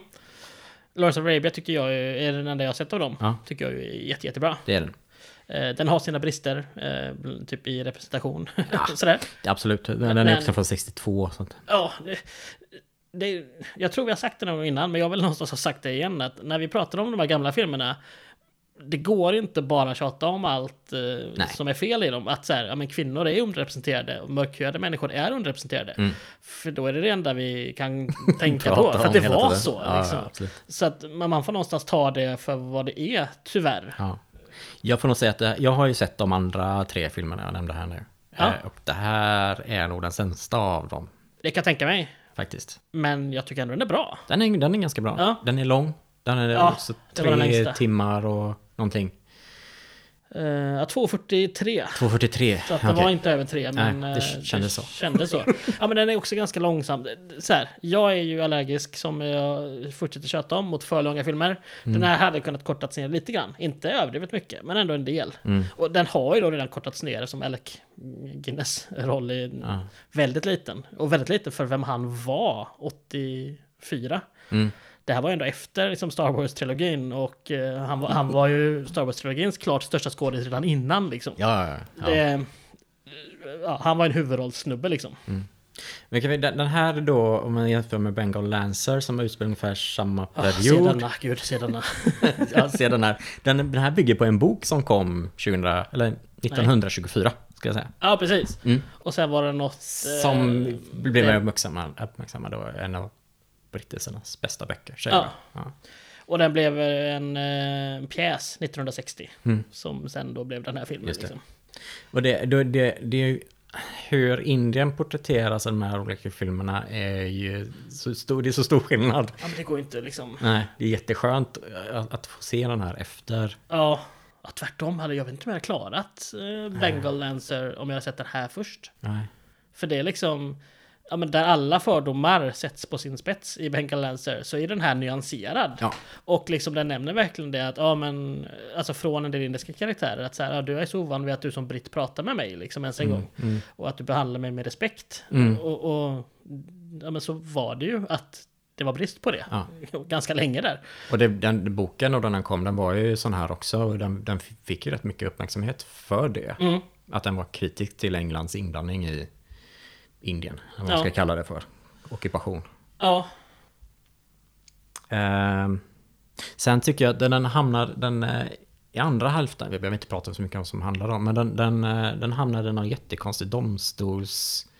Lawrence of Arabia tycker jag ju- är den enda jag har sett av dem. Ja. Tycker jag ju är jätte, jättebra. Det är den. Eh, Den har sina brister, eh, typ i representation. Sådär. Absolut. Den, den är Men- också från 62. och Sånt. Ja, det, det, jag tror vi har sagt det någon gång innan, men jag vill någonstans ha sagt det igen. Att när vi pratar om de här gamla filmerna, det går inte bara tjata om allt eh, som är fel i dem. Att så här, ja, men kvinnor är underrepresenterade och mörkhyade människor är underrepresenterade. Mm. För då är det det enda vi kan tänka på. Pratar För att om det hela var tiden. så. Ja, Liksom. ja, absolut. så att man man får någonstans ta det för vad det är, tyvärr. Ja. Jag får nog säga att det, jag har ju sett de andra tre filmerna jag nämnde här nu. Ja. Eh, och det här är nog den sämsta av dem, Det kan jag tänka mig. faktiskt. Men jag tycker ändå den är bra. Den är, den är ganska bra. Ja. Den är lång. Den är Ja, också det var den tre längsta. timmar och någonting. Eh, ja, 2.43. 2.43. Så att det Okej. var inte över tre, men Nej, eh, det kändes så. kändes så. Ja, men den är också ganska långsam. Så här, jag är ju allergisk, som jag fortsätter tjöta om, mot för långa filmer. Mm. Den här hade kunnat kortats ner lite grann. Inte överdrivet mycket, men ändå en del. Mm. Och den har ju då redan kortats ner som Alec Guinness roll är väldigt liten. Och väldigt liten för vem han var 84. Mm. Det här var ju ändå efter liksom, Star Wars-trilogin och eh, han, var, han var ju Star Wars-trilogins klart största skådis redan innan liksom. Ja, ja, ja. ja. Det, ja, han var en huvudrollssnubbe liksom. Mm. Men kan vi, den den här då, om man jämför med Bengal Lancer som utspelar ungefär samma Ah, se period. denna, gud, ah. se denna. ja, se den här. Den, den här bygger på en bok som kom 2000, eller 1924, ska jag säga. Ja, precis. Och sen var det något... eh, Mm. Som blev mer uppmärksammad, uppmärksammad då, en av brittisernas bästa böcker. säger Ja. jag. Ja. Och den blev en, eh, en pjäs 1960. Som sen då blev den här filmen. Mm. Just det. Liksom. Och det, det, det, det är ju hur Indien porträtteras i de här olika filmerna är ju så stor, det är så stor skillnad. Ja, men det går ju inte liksom... Nej, det är jätteskönt att, att få se den här efter. Ja, ja tvärtom hade jag väl inte mer klarat eh, Bengal Lancer om jag hade sett den här först. Nej. För det är liksom... Ja, men där alla fördomar sätts på sin spets i Bengal Lancer så är den här nyanserad. Ja. Och liksom den nämner verkligen det att, ja men, alltså från en del indiska karaktärer, att så här, ja, du är så ovan vid att du som britt pratar med mig liksom ens Mm, en gång. Och att du behandlar mig med respekt. Och, och ja, men så var det ju att det var brist på det. Ja. Ganska länge där. Och det, den boken och då den kom, den var ju sån här också. Och den, den fick ju rätt mycket uppmärksamhet för det. Mm. Att den var kritisk till Englands inblandning i Indien. Eller vad man Ja. ska kalla det för. Ockupation. Ja, Ehm, sen tycker jag att den, den hamnar den, eh, i andra halvan, vi behöver inte prata så mycket om vad som handlar om, men den, den, eh, den hamnar i någon jättekonstig domstolsspel.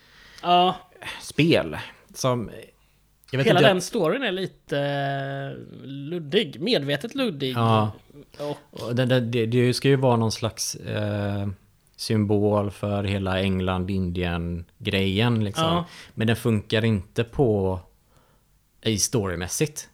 ja. Som, eh, jag vet Hela inte, den storyn är lite eh, luddig, medvetet luddig. Ja. Och, och den, den, det, det ska ju vara någon slags eh, symbol för hela England-Indien-grejen. Liksom. Ja. Men den funkar inte på i storymässigt.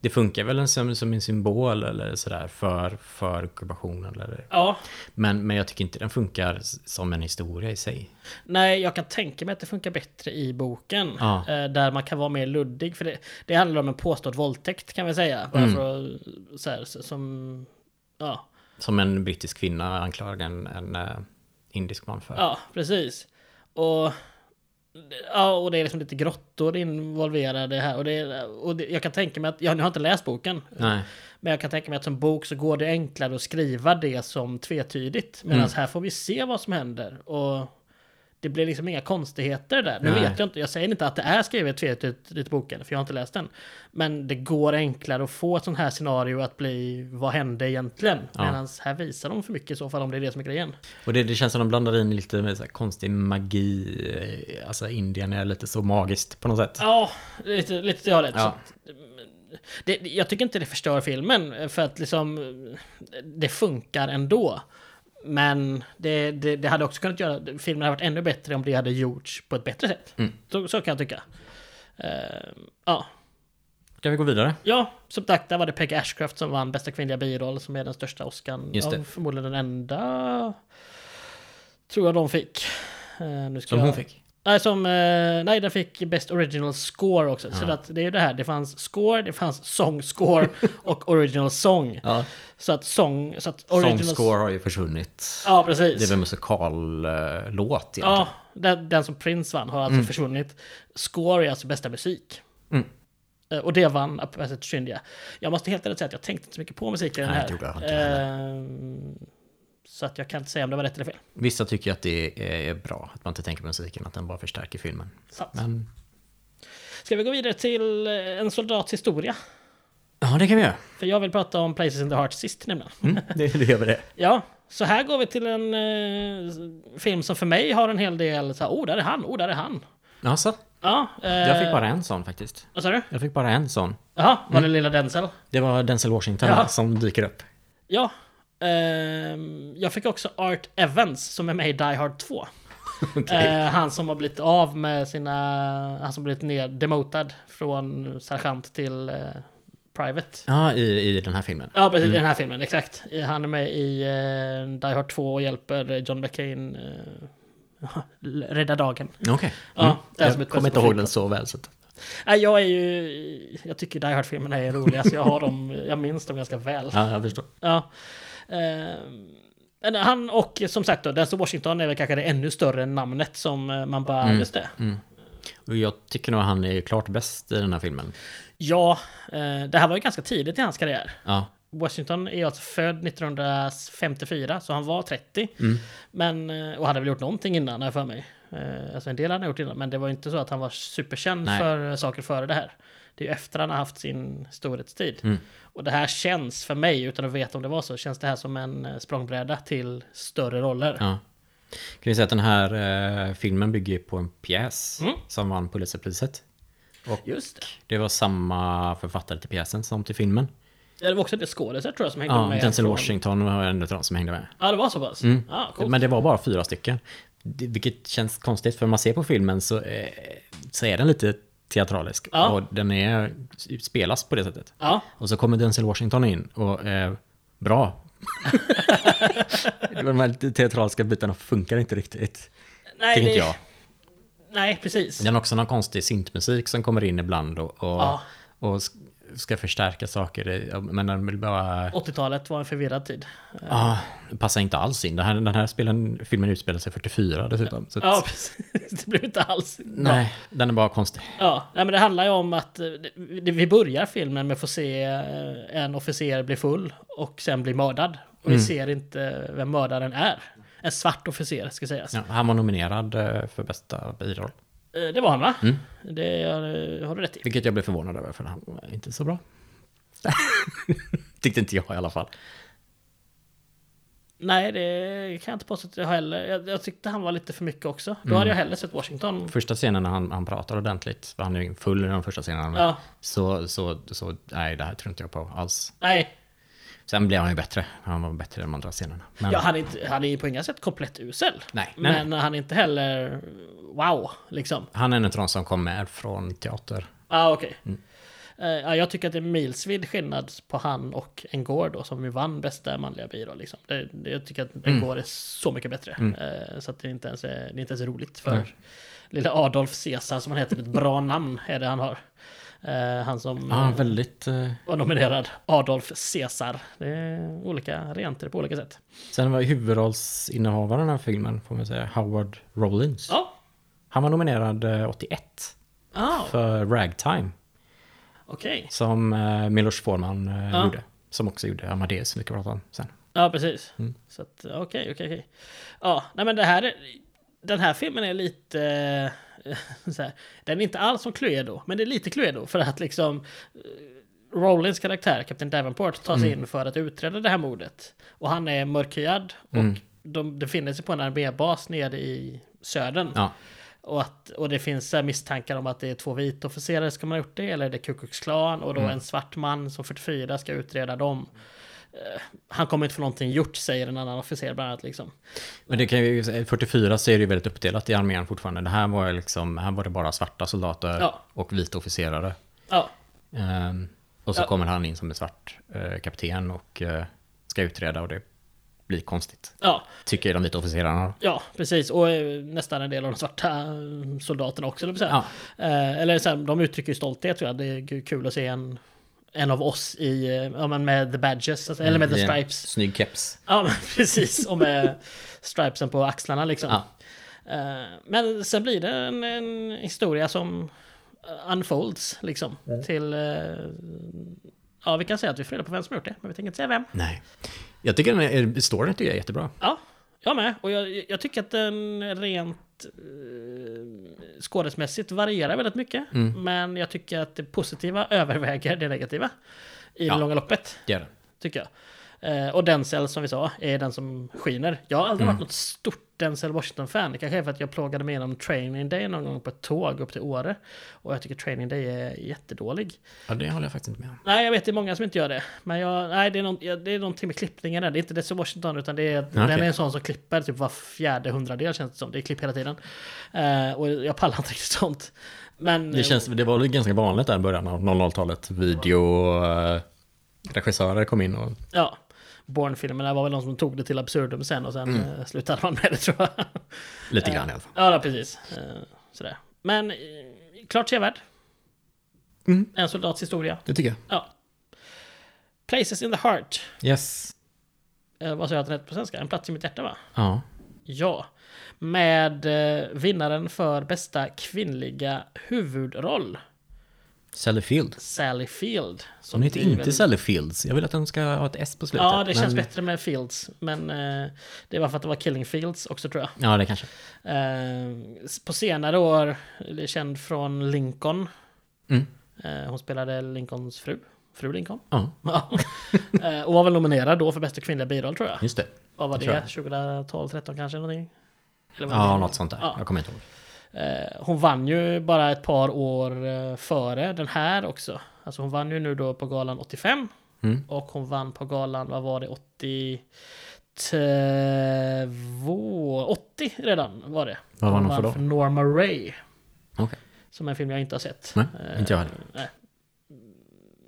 Det funkar väl som, som en symbol eller sådär för, för ockupationen eller ja. Men, men jag tycker inte den funkar s- som en historia i sig. Nej, jag kan tänka mig att det funkar bättre i boken. Ja. Eh, där man kan vara mer luddig. För det, det handlar om en påstådd våldtäkt kan vi säga. Bara för att, så här, s- som... Ja, Som en brittisk kvinna anklagar en, en eh, indisk man för. ja precis. Och... Ja, och det är liksom lite grottor involverade här. Och, det, och det, jag kan tänka mig att... Jag, nu har jag inte läst boken. Nej. Men jag kan tänka mig att som bok så går det enklare att skriva det som tvetydigt. Mm. Medan här får vi se vad som händer. Och det blir liksom inga konstigheter där. Nu Nej. vet jag inte, jag säger inte att det är skrivet tvetydigt i boken, för jag har inte läst den. Men det går enklare att få ett sånt här scenario att bli, vad hände egentligen? Ja. Medan här visar de för mycket i så fall, om det är det som är grejen. Och det, det känns som de blandar in lite med så här konstig magi. eh, Alltså Indien är lite så magiskt på något sätt. Ja, lite, lite ja, det. Ja. Så- Det, jag tycker inte det förstör filmen, för att liksom det funkar ändå. Men det, det, det hade också kunnat göra, filmen hade varit ännu bättre om det hade gjorts på ett bättre sätt. Så, så kan jag tycka. Eh, ja. Ska vi gå vidare? ja, som sagt, där var det Peg Ashcraft som vann bästa kvinnliga biroll som är den största Oscarn. Just det. Ja, förmodligen den enda tror jag de fick. Eh, nu ska Som jag... hon fick. Nej, som, eh, nej, den fick Best Original Score också. Så Ja. att det är ju det här, det fanns score, det fanns song score och original song. Ja. Så att sång, så att Song original... score har ju försvunnit. Ja, precis. Det är väl musikallåt egentligen. Ja, den, den som Prince vann har alltså försvunnit. Score är alltså bästa musik. Mm. Eh, Och det vann A Passage to India. Jag måste helt ärligt säga att jag tänkte inte så mycket på musiken i den Nej, här. det gjorde jag inte Ehm, så att jag kan inte säga om det var rätt eller fel. Vissa tycker att det är bra att man inte tänker på musiken, att den bara förstärker filmen. Sant. Men Ska vi gå vidare till eh, en soldats historia? ja, det kan vi göra. För jag vill prata om Places in the Heart sist nämligen. Mm, det, det gör vi det. Ja, så här går vi till en eh, film som för mig har en hel del så här, oh där är han, oh där är han. Alltså, Ja, eh, jag fick bara Mm. en sån faktiskt. Vad sa du? Jag fick bara en sån. Jaha, var det lilla Denzel? Det var Denzel Washington Ja. som dyker upp. Ja. ehm, jag fick också Art Evans som är med i Die Hard 2. Eh, han som har blivit av med sina... Han som blivit ner, demotad från sergeant till eh, private. Ja, i, i den här filmen. Ja, precis. I den här filmen, exakt. Eh, Han är med i eh, Die Hard 2 och hjälper eh, John McCain eh, rädda dagen. Mm. Okej. Ja, det är som ett jag bäst kommer på inte ihåg film. den så väl. Så. att- Nej, jag är ju... Jag tycker Die Hard-filmerna är roliga, så jag har dem... Jag minns dem ganska väl. Ja, jag förstår. Ja. Ehm, men han och som sagt då, Denzel Washington är väl kanske det ännu större namnet som eh, man bara, just det. Och jag tycker nog han är klart bäst i den här filmen. Ja, eh, det här var ju ganska tidigt i hans karriär. Ja, Washington är alltså född 1954, så han var 30. Men, eh, och hade väl gjort någonting innan, har jag för mig. Eh, Alltså en del hade han gjort innan, men det var ju inte så att han var superkänd Nej. för eh, saker före det här. Det är ju efter han har haft sin storhetstid. Och det här känns för mig, utan att veta om det var så, känns det här som en eh, språngbräda till större roller. ja. Kan ju säga att den här eh, filmen bygger ju på en pjäs Mm. som vann Pulitzerpriset. Just det. Det var samma författare till pjäsen som till filmen. Ja, det var också det skådisar tror jag som hängde Ja, med. Denzel från- Washington var en av de som hängde med. Ja, det var så pass? Ja, Ah, coolt. Men det var bara fyra stycken. Det- Vilket känns konstigt, för om man ser på filmen så, eh, så är den lite teatralisk. Ja. Och den är, spelas på det sättet. Ja, Och så kommer Denzel Washington in och eh, bra. De här lite teatraliska bitarna funkar inte riktigt. nej, tänker det, jag. nej precis. Den har också någon konstig syntmusik som kommer in ibland och, och, Ja. och sk- ska förstärka saker. i- Men den vill bara... 80-talet var en förvirrad tid. Ah, passar inte alls in. Den här, den här spelen, filmen utspelar sig 44 dessutom. Så att, Ja, precis. Det blev inte alls bra. Nej, den är bara konstig. Ja, nej, men det handlar ju om att eh, det- vi börjar filmen med att få se eh, en officer bli full och sen bli mördad. Och Mm. vi ser inte vem mördaren är. En svart officer ska sägas. Ja, han var nominerad eh, för bästa biroll. Eh, Det var han va? Mm. Det eh, har du rätt i. Vilket jag blev förvånad över, för han var inte så bra. Tyckte inte jag i alla fall. Nej, det kan jag inte påstå att jag heller. Jag, jag tyckte han var lite för mycket också. Då Mm. hade jag hellre sett Washington. Första scenen när han, han pratar ordentligt, för han är ju full i den första scenen. Ja. Så, så, så, nej, det här tror inte jag på alls. Nej, Sen blev han ju bättre. Han var bättre i de andra scenerna. Men, ja, han, är inte, han är ju på inga sätt komplett usel. Nej, nej, men han är inte heller wow, liksom. Han är en av de som kommer från teater. Ah, okej. Mm. Eh, ja, jag tycker att det är milsvid skillnad på han och Ngor då, som ju vann bästa manliga biroll. Liksom. Det, det, jag tycker att Mm. Ngor är så mycket bättre. Eh, så att det inte ens är, det är inte ens roligt för lilla Adolf Caesar, som han heter, ett bra namn är det han har. Eh, han som... Ja, han är väldigt... eh, var nominerad Adolf Caesar. Det är olika renter på olika sätt. Sen var huvudrollsinnehavaren i den här filmen, får man säga, Howard Rollins. Ja. Han var nominerad eh, 81 Ah, för Ragtime. okej. Som eh, Milos Forman eh, Ja. gjorde. Som också gjorde Amadeus, som vi ska prata om sen. Ja, precis. Så att, okej, okej, okej. Ja, nej men det här är, Den här filmen är lite... eh, Så här, den är inte alls som Cluedo, men det är lite Cluedo. För att liksom... eh, Rollins karaktär, Kapten Davenport, tas in för att utreda det här mordet. Och han är mörkhyad och de befinner sig på en armébas nere i södern. Ja. Och, att, och det finns så här misstankar om att det är två vita officerare som har gjort det, eller är det Ku Klux Klan och då en svart man som 44 ska utreda dem. eh, han kommer inte få någonting gjort, säger en annan officer bland annat. Liksom. Men det kan ju, 44 så är det ju väldigt uppdelat i armén fortfarande. Det här var ju liksom, här var det bara svarta soldater Ja. och vita officerare. Ja, Ehm, och så Ja. kommer han in som en svart eh, kapten och eh, ska utreda och det blir konstigt. ja, Tycker de vita officerarna. ja, precis. Och eh, nästan en del av de svarta eh, soldaterna också. eller så här. Ja. Eh, eller så här, de uttrycker ju stolthet tror jag. Det är ju kul att se en, en av oss i, eh, ja, men med the badges, alltså, eller med the I en stripes. Snygg keps. Ja, men precis. Och med stripesen på axlarna liksom. Ja. Eh, Men sen blir det en, en historia som eh, unfolds liksom. Mm. Till... eh, Ja, vi kan säga att vi får reda på vem som har gjort det, men vi tänker inte säga vem. Nej. Jag tycker den är, storyn tycker jag är jättebra. Ja, jag med. Och jag, jag tycker att den rent eh, skådesmässigt varierar väldigt mycket. Mm. Men jag tycker att det positiva överväger det negativa i Ja. det långa loppet. Det är den. tycker jag. Eh, och Denzel, som vi sa, är den som skiner. Jag har aldrig Mm. varit något stort Denzel Washington-fan. Det kanske är för att jag plågade mig igenom Training Day någon gång på ett tåg upp till Åre. Och jag tycker Training Day är jättedålig. Ja, det håller jag faktiskt inte med om. Nej, jag vet, det är många som inte gör det. Men jag, nej, det, är någon, ja, det är någonting med klippningen där. Det är inte Denzel Washington, utan det är, okej. den är en sån som klipper typ var fjärde hundradel känns det som. Det är klipp hela tiden. Eh, och jag pallar inte riktigt sånt. Men... Det, känns, det var väl ganska vanligt där i början av 00-talet. Video... Eh, regissörer kom in och... Ja. Bourne-filmerna var väl de som tog det till absurdum sen och sen Mm. eh, slutade man med det tror jag. Lite grann i alla fall. Ja, då, precis. Eh, Sådär. Men eh, klart sevärd. Mm. En soldats historia. Det tycker jag. Ja. Places in the heart. Yes. Eh, vad sa jag att den hette på svenska? En plats i mitt hjärta va? Ja. Ja. Med eh, vinnaren för bästa kvinnliga huvudroll. Sally Field. Sally Field. Hon heter vi inte väl- Sally Fields. Jag vill att hon ska ha ett S på slutet. Ja, det känns men- bättre med Fields. Men eh, det var för att det var Killing Fields också tror jag. Ja, det kanske. Eh, på senare år, eller känd från Lincoln. Mm. Eh, hon spelade Lincolns fru, fru Lincoln. Ja, Ja. Eh, och var väl nominerad då för bästa kvinnliga biroll tror jag. just det. Vad var det tror det? 2012, 13 kanske någonting? Eller vad Ja, det? något sånt där. Ja. Jag kommer inte ihåg. Eh, hon vann ju bara ett par år eh, före den här också. Alltså hon vann ju nu då på galan 85. Mm. Och hon vann på galan, vad var det, 82? 80 redan var det. Vad vann hon för vann då? för Norma Ray. Okej. Som är en film jag inte har sett. Nej, Eh, inte jag heller. nej.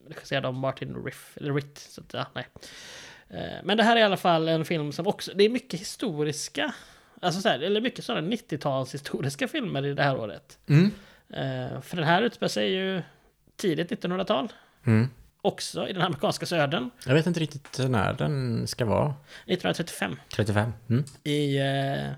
Regisserad av Martin Riff, eller Ritt. Så att, ja, nej. Eh, Men det här är i alla fall en film som också, det är mycket historiska, alltså så här, eller mycket sådana 90-tals historiska filmer i det här året. Mm. Eh, För den här utspelar sig ju tidigt 1900-tal, också i den amerikanska södern, Mm. Jag vet inte riktigt när den ska vara. 1935, 35. Mm. i eh,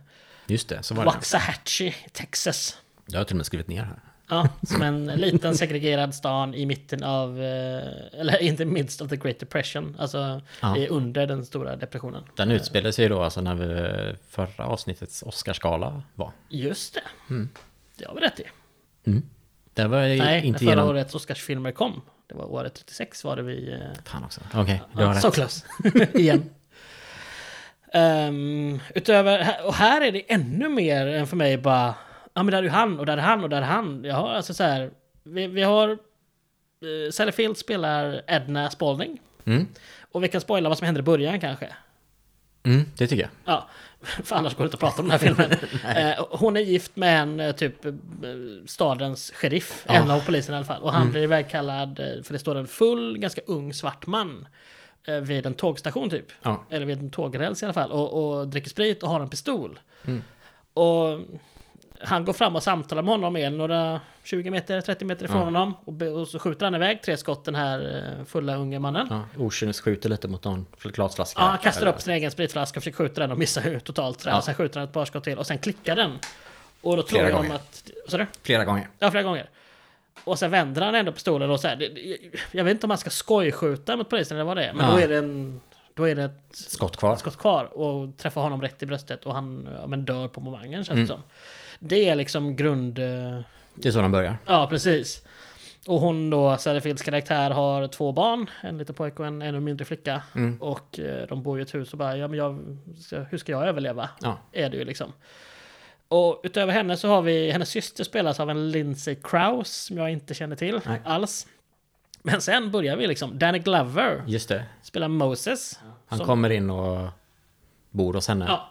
Just det, så var det. Waxahachie, Texas. Jag har till och med skrivit ner här. Ja, som en liten segregerad stan i mitten av, eh, eller inte minst av the Great Depression, alltså Ja. i under den stora depressionen. Den utspelar sig då alltså när vi, förra avsnittets Oscarsgala var. Just det. Mm. Det har vi rätt i. Det var ju Nej, när inte förra genom... årets Oscarsfilmer kom. Det var året 36 var det vi... eh, Fan också. Okej, du har Ja, så rätt. close. Igen. Ehm, utöver, och här är det ännu mer än för mig bara, ja men där är ju han och där är han och där är han. Jag har alltså så här, vi, vi har, eh, Sally Field spelar Edna Spalding. Mm. Och vi kan spoila vad som händer i början kanske. Mm, det tycker jag. Ja, för annars går det inte att prata om den här filmen. Eh, hon är gift med en eh, typ eh, stadens sheriff, en av polisen i alla fall. Och han blir ivägkallad, eh, för det står en full, ganska ung svart man eh, vid en tågstation typ. Ja. Eller vid en tågräls i alla fall. Och, och dricker sprit och har en pistol. Och han går fram och samtalar med honom igen, några 20 meter, 30 meter ifrån honom. Och, be- och så skjuter han iväg tre skott, den här eh, fulla unge mannen. ja. Okynnesskjuter lite mot någon glasflaska. Ja, han kastar Eller- upp sin egen spritflaska och försöker skjuta den och missar ju totalt. sådär. Sen skjuter han ett par skott till och sen klickar den. Och då tror Flera de gånger. att... Så du? Flera gånger. Ja, flera gånger. Och sen vänder han ändå pistolen och så här. det- det- Jag vet inte om han ska skojskjuta mot polisen eller vad det är. Men Ja. då är det en... Då är det ett Skott kvar. skott kvar och träffar honom rätt i bröstet och han ja, men dör på momangen känns Mm. det som. Det är liksom grund... eh, Det är så den börjar. Ja, precis. Och hon då, Sally Fields karaktär, har två barn. En liten pojke och en ännu mindre flicka. Mm. Och eh, de bor i ett hus och bara, ja men jag, ska, hur ska jag överleva? Ja. Är det ju liksom. Och utöver henne så har vi, hennes syster spelas av en Lindsay Krause som jag inte känner till Nej. alls. Men sen börjar vi liksom. Danny Glover Just det. spelar Moses. Han som- kommer in och bor hos henne. Ja.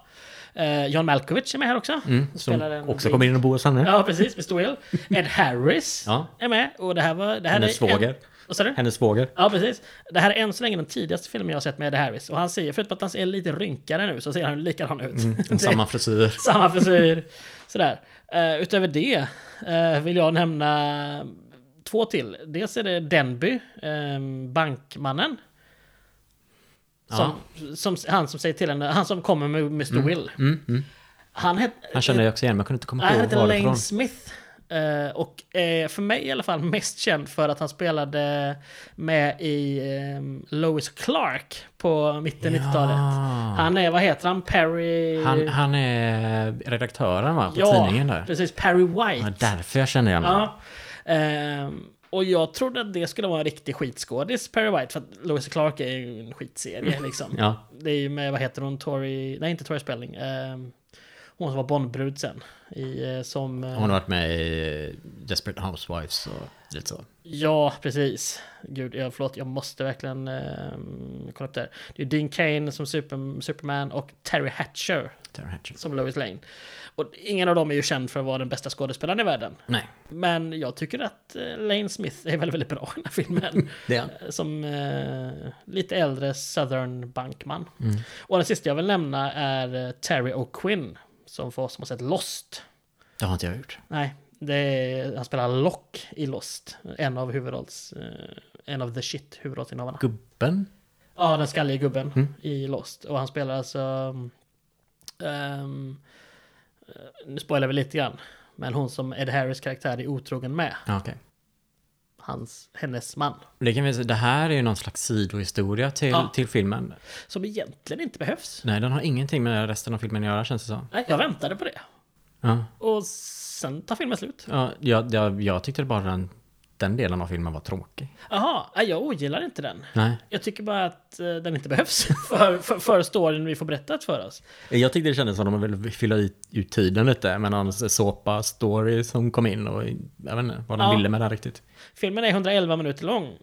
Eh, John Malkovich är med här också. Mm, som Spelar en också big- kommer in och bor hos henne. Ja, precis. Med stor hjälp. Ed Harris Ja. är med. Och det här var... Det här Hennes är en- svåger. Vad sa du? Hennes svåger. Ja, precis. Det här är än så länge den tidigaste filmen jag har sett med Ed Harris. Och han ser, förutom att han ser lite rynkare nu, så ser han likadan ut. Det- Mm, Samma frisyr. samma frisyr. Sådär. Eh, utöver det eh, vill jag nämna två till. Dels är det Denby, eh, bankmannen. Som, som, han som säger till henne, han som kommer med Mr. Will. Han hette... Mm. Han kände jag också igen, men jag kunde inte komma Han ihåg heter Lane varifrån. Smith. eh, Och eh, för mig i alla fall mest känd för att han spelade med i eh, Lois Clark på mitten 90-talet. Han är, vad heter han? Perry... Han, han är redaktören va, på ja, tidningen där. precis. Perry Ja, White. därför jag känner igen honom. Ja. Ehm, och jag trodde att det skulle vara en riktig skitskådis, Perry White, för att Lois Clark är ju en skitserie liksom. Ja. Det är ju med, vad heter hon, Tori... Nej, inte Tori Spelling. Ehm, hon som var Bondbrud sen. I, eh, som... eh, Hon har varit med i eh, Desperate Housewives och lite så. Ja, precis. Gud, jag, förlåt, jag måste verkligen ehm, kolla upp det här. Det är Dean Kane som super, Superman och Terry Hatcher Tara Hatcher. som Lois Lane. Och ingen av dem är ju känd för att vara den bästa skådespelaren i världen. Nej, Men jag tycker att eh, Lane Smith är väldigt, väldigt bra i den här filmen. det är han. Som eh, lite äldre Southern bankman. Och den sista jag vill nämna är eh, Terry O'Quinn. Som för oss som har sett Lost. Det har inte jag gjort. Nej, det är, han spelar Lock i Lost. En av huvudrolls... Eh, en av the shit huvudrollsinnehavarna. Gubben? Ja, den skallige gubben i Lost. Och han spelar alltså... ehm, eh, nu spoilar vi lite grann. Men hon som Ed Harris karaktär är otrogen med. Ja, okej. Hans, hennes man. Det, kan vi, säga, det här är ju någon slags sidohistoria till, Ja. till filmen. Som egentligen inte behövs. Nej, den har ingenting med resten av filmen att göra känns det som. Nej, jag väntade på det. Ja. Och sen tar filmen slut. Ja, jag, jag, jag tyckte bara den, den delen av filmen var tråkig. Jaha, nej, jag ogillar inte den. Nej. Jag tycker bara att eh, den inte behövs för, för, för storyn vi får berättat för oss. Jag tyckte det kändes som att de ville fylla ut, ut tiden lite med någon såpa-story som kom in och jag vet inte vad de Ja. ville med det här riktigt. Filmen är 111 minuter lång. Eh,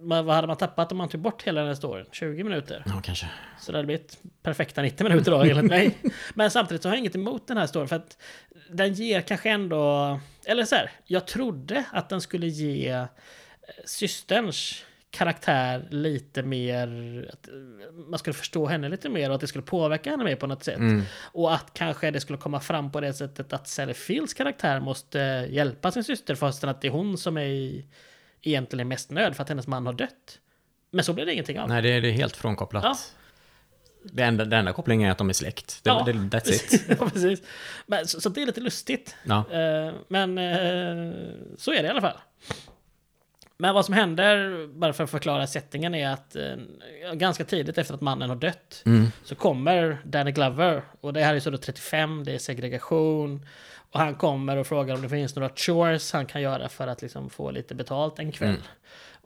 Men vad hade man tappat om man tog bort hela den här storyn? 20 minuter? Ja, kanske. Så det hade blivit perfekta 90 minuter då, enligt mig. Men samtidigt så har jag inget emot den här storyn, för att den ger kanske ändå... Eller så här, jag trodde att den skulle ge eh, systerns karaktär lite mer... Att eh, man skulle förstå henne lite mer och att det skulle påverka henne mer på något sätt. Och att kanske det skulle komma fram på det sättet att Sally Fields karaktär måste eh, hjälpa sin syster fastän att det är hon som är i, egentligen är mest nöd för att hennes man har dött. Men så blev det ingenting av. Nej, det, är- det är helt frånkopplat. Ja. Det enda, den enda kopplingen är att de är släkt. Det, det, that's it. precis. ja, precis. Men, så, så det är lite lustigt. Ja. Eh, men eh, så är det i alla fall. Men vad som händer, bara för att förklara settingen, är att eh, ganska tidigt efter att mannen har dött Mm. så kommer Danny Glover. Och det här är så då 35, det är segregation. Och han kommer och frågar om det finns några chores han kan göra för att liksom få lite betalt en kväll. Mm.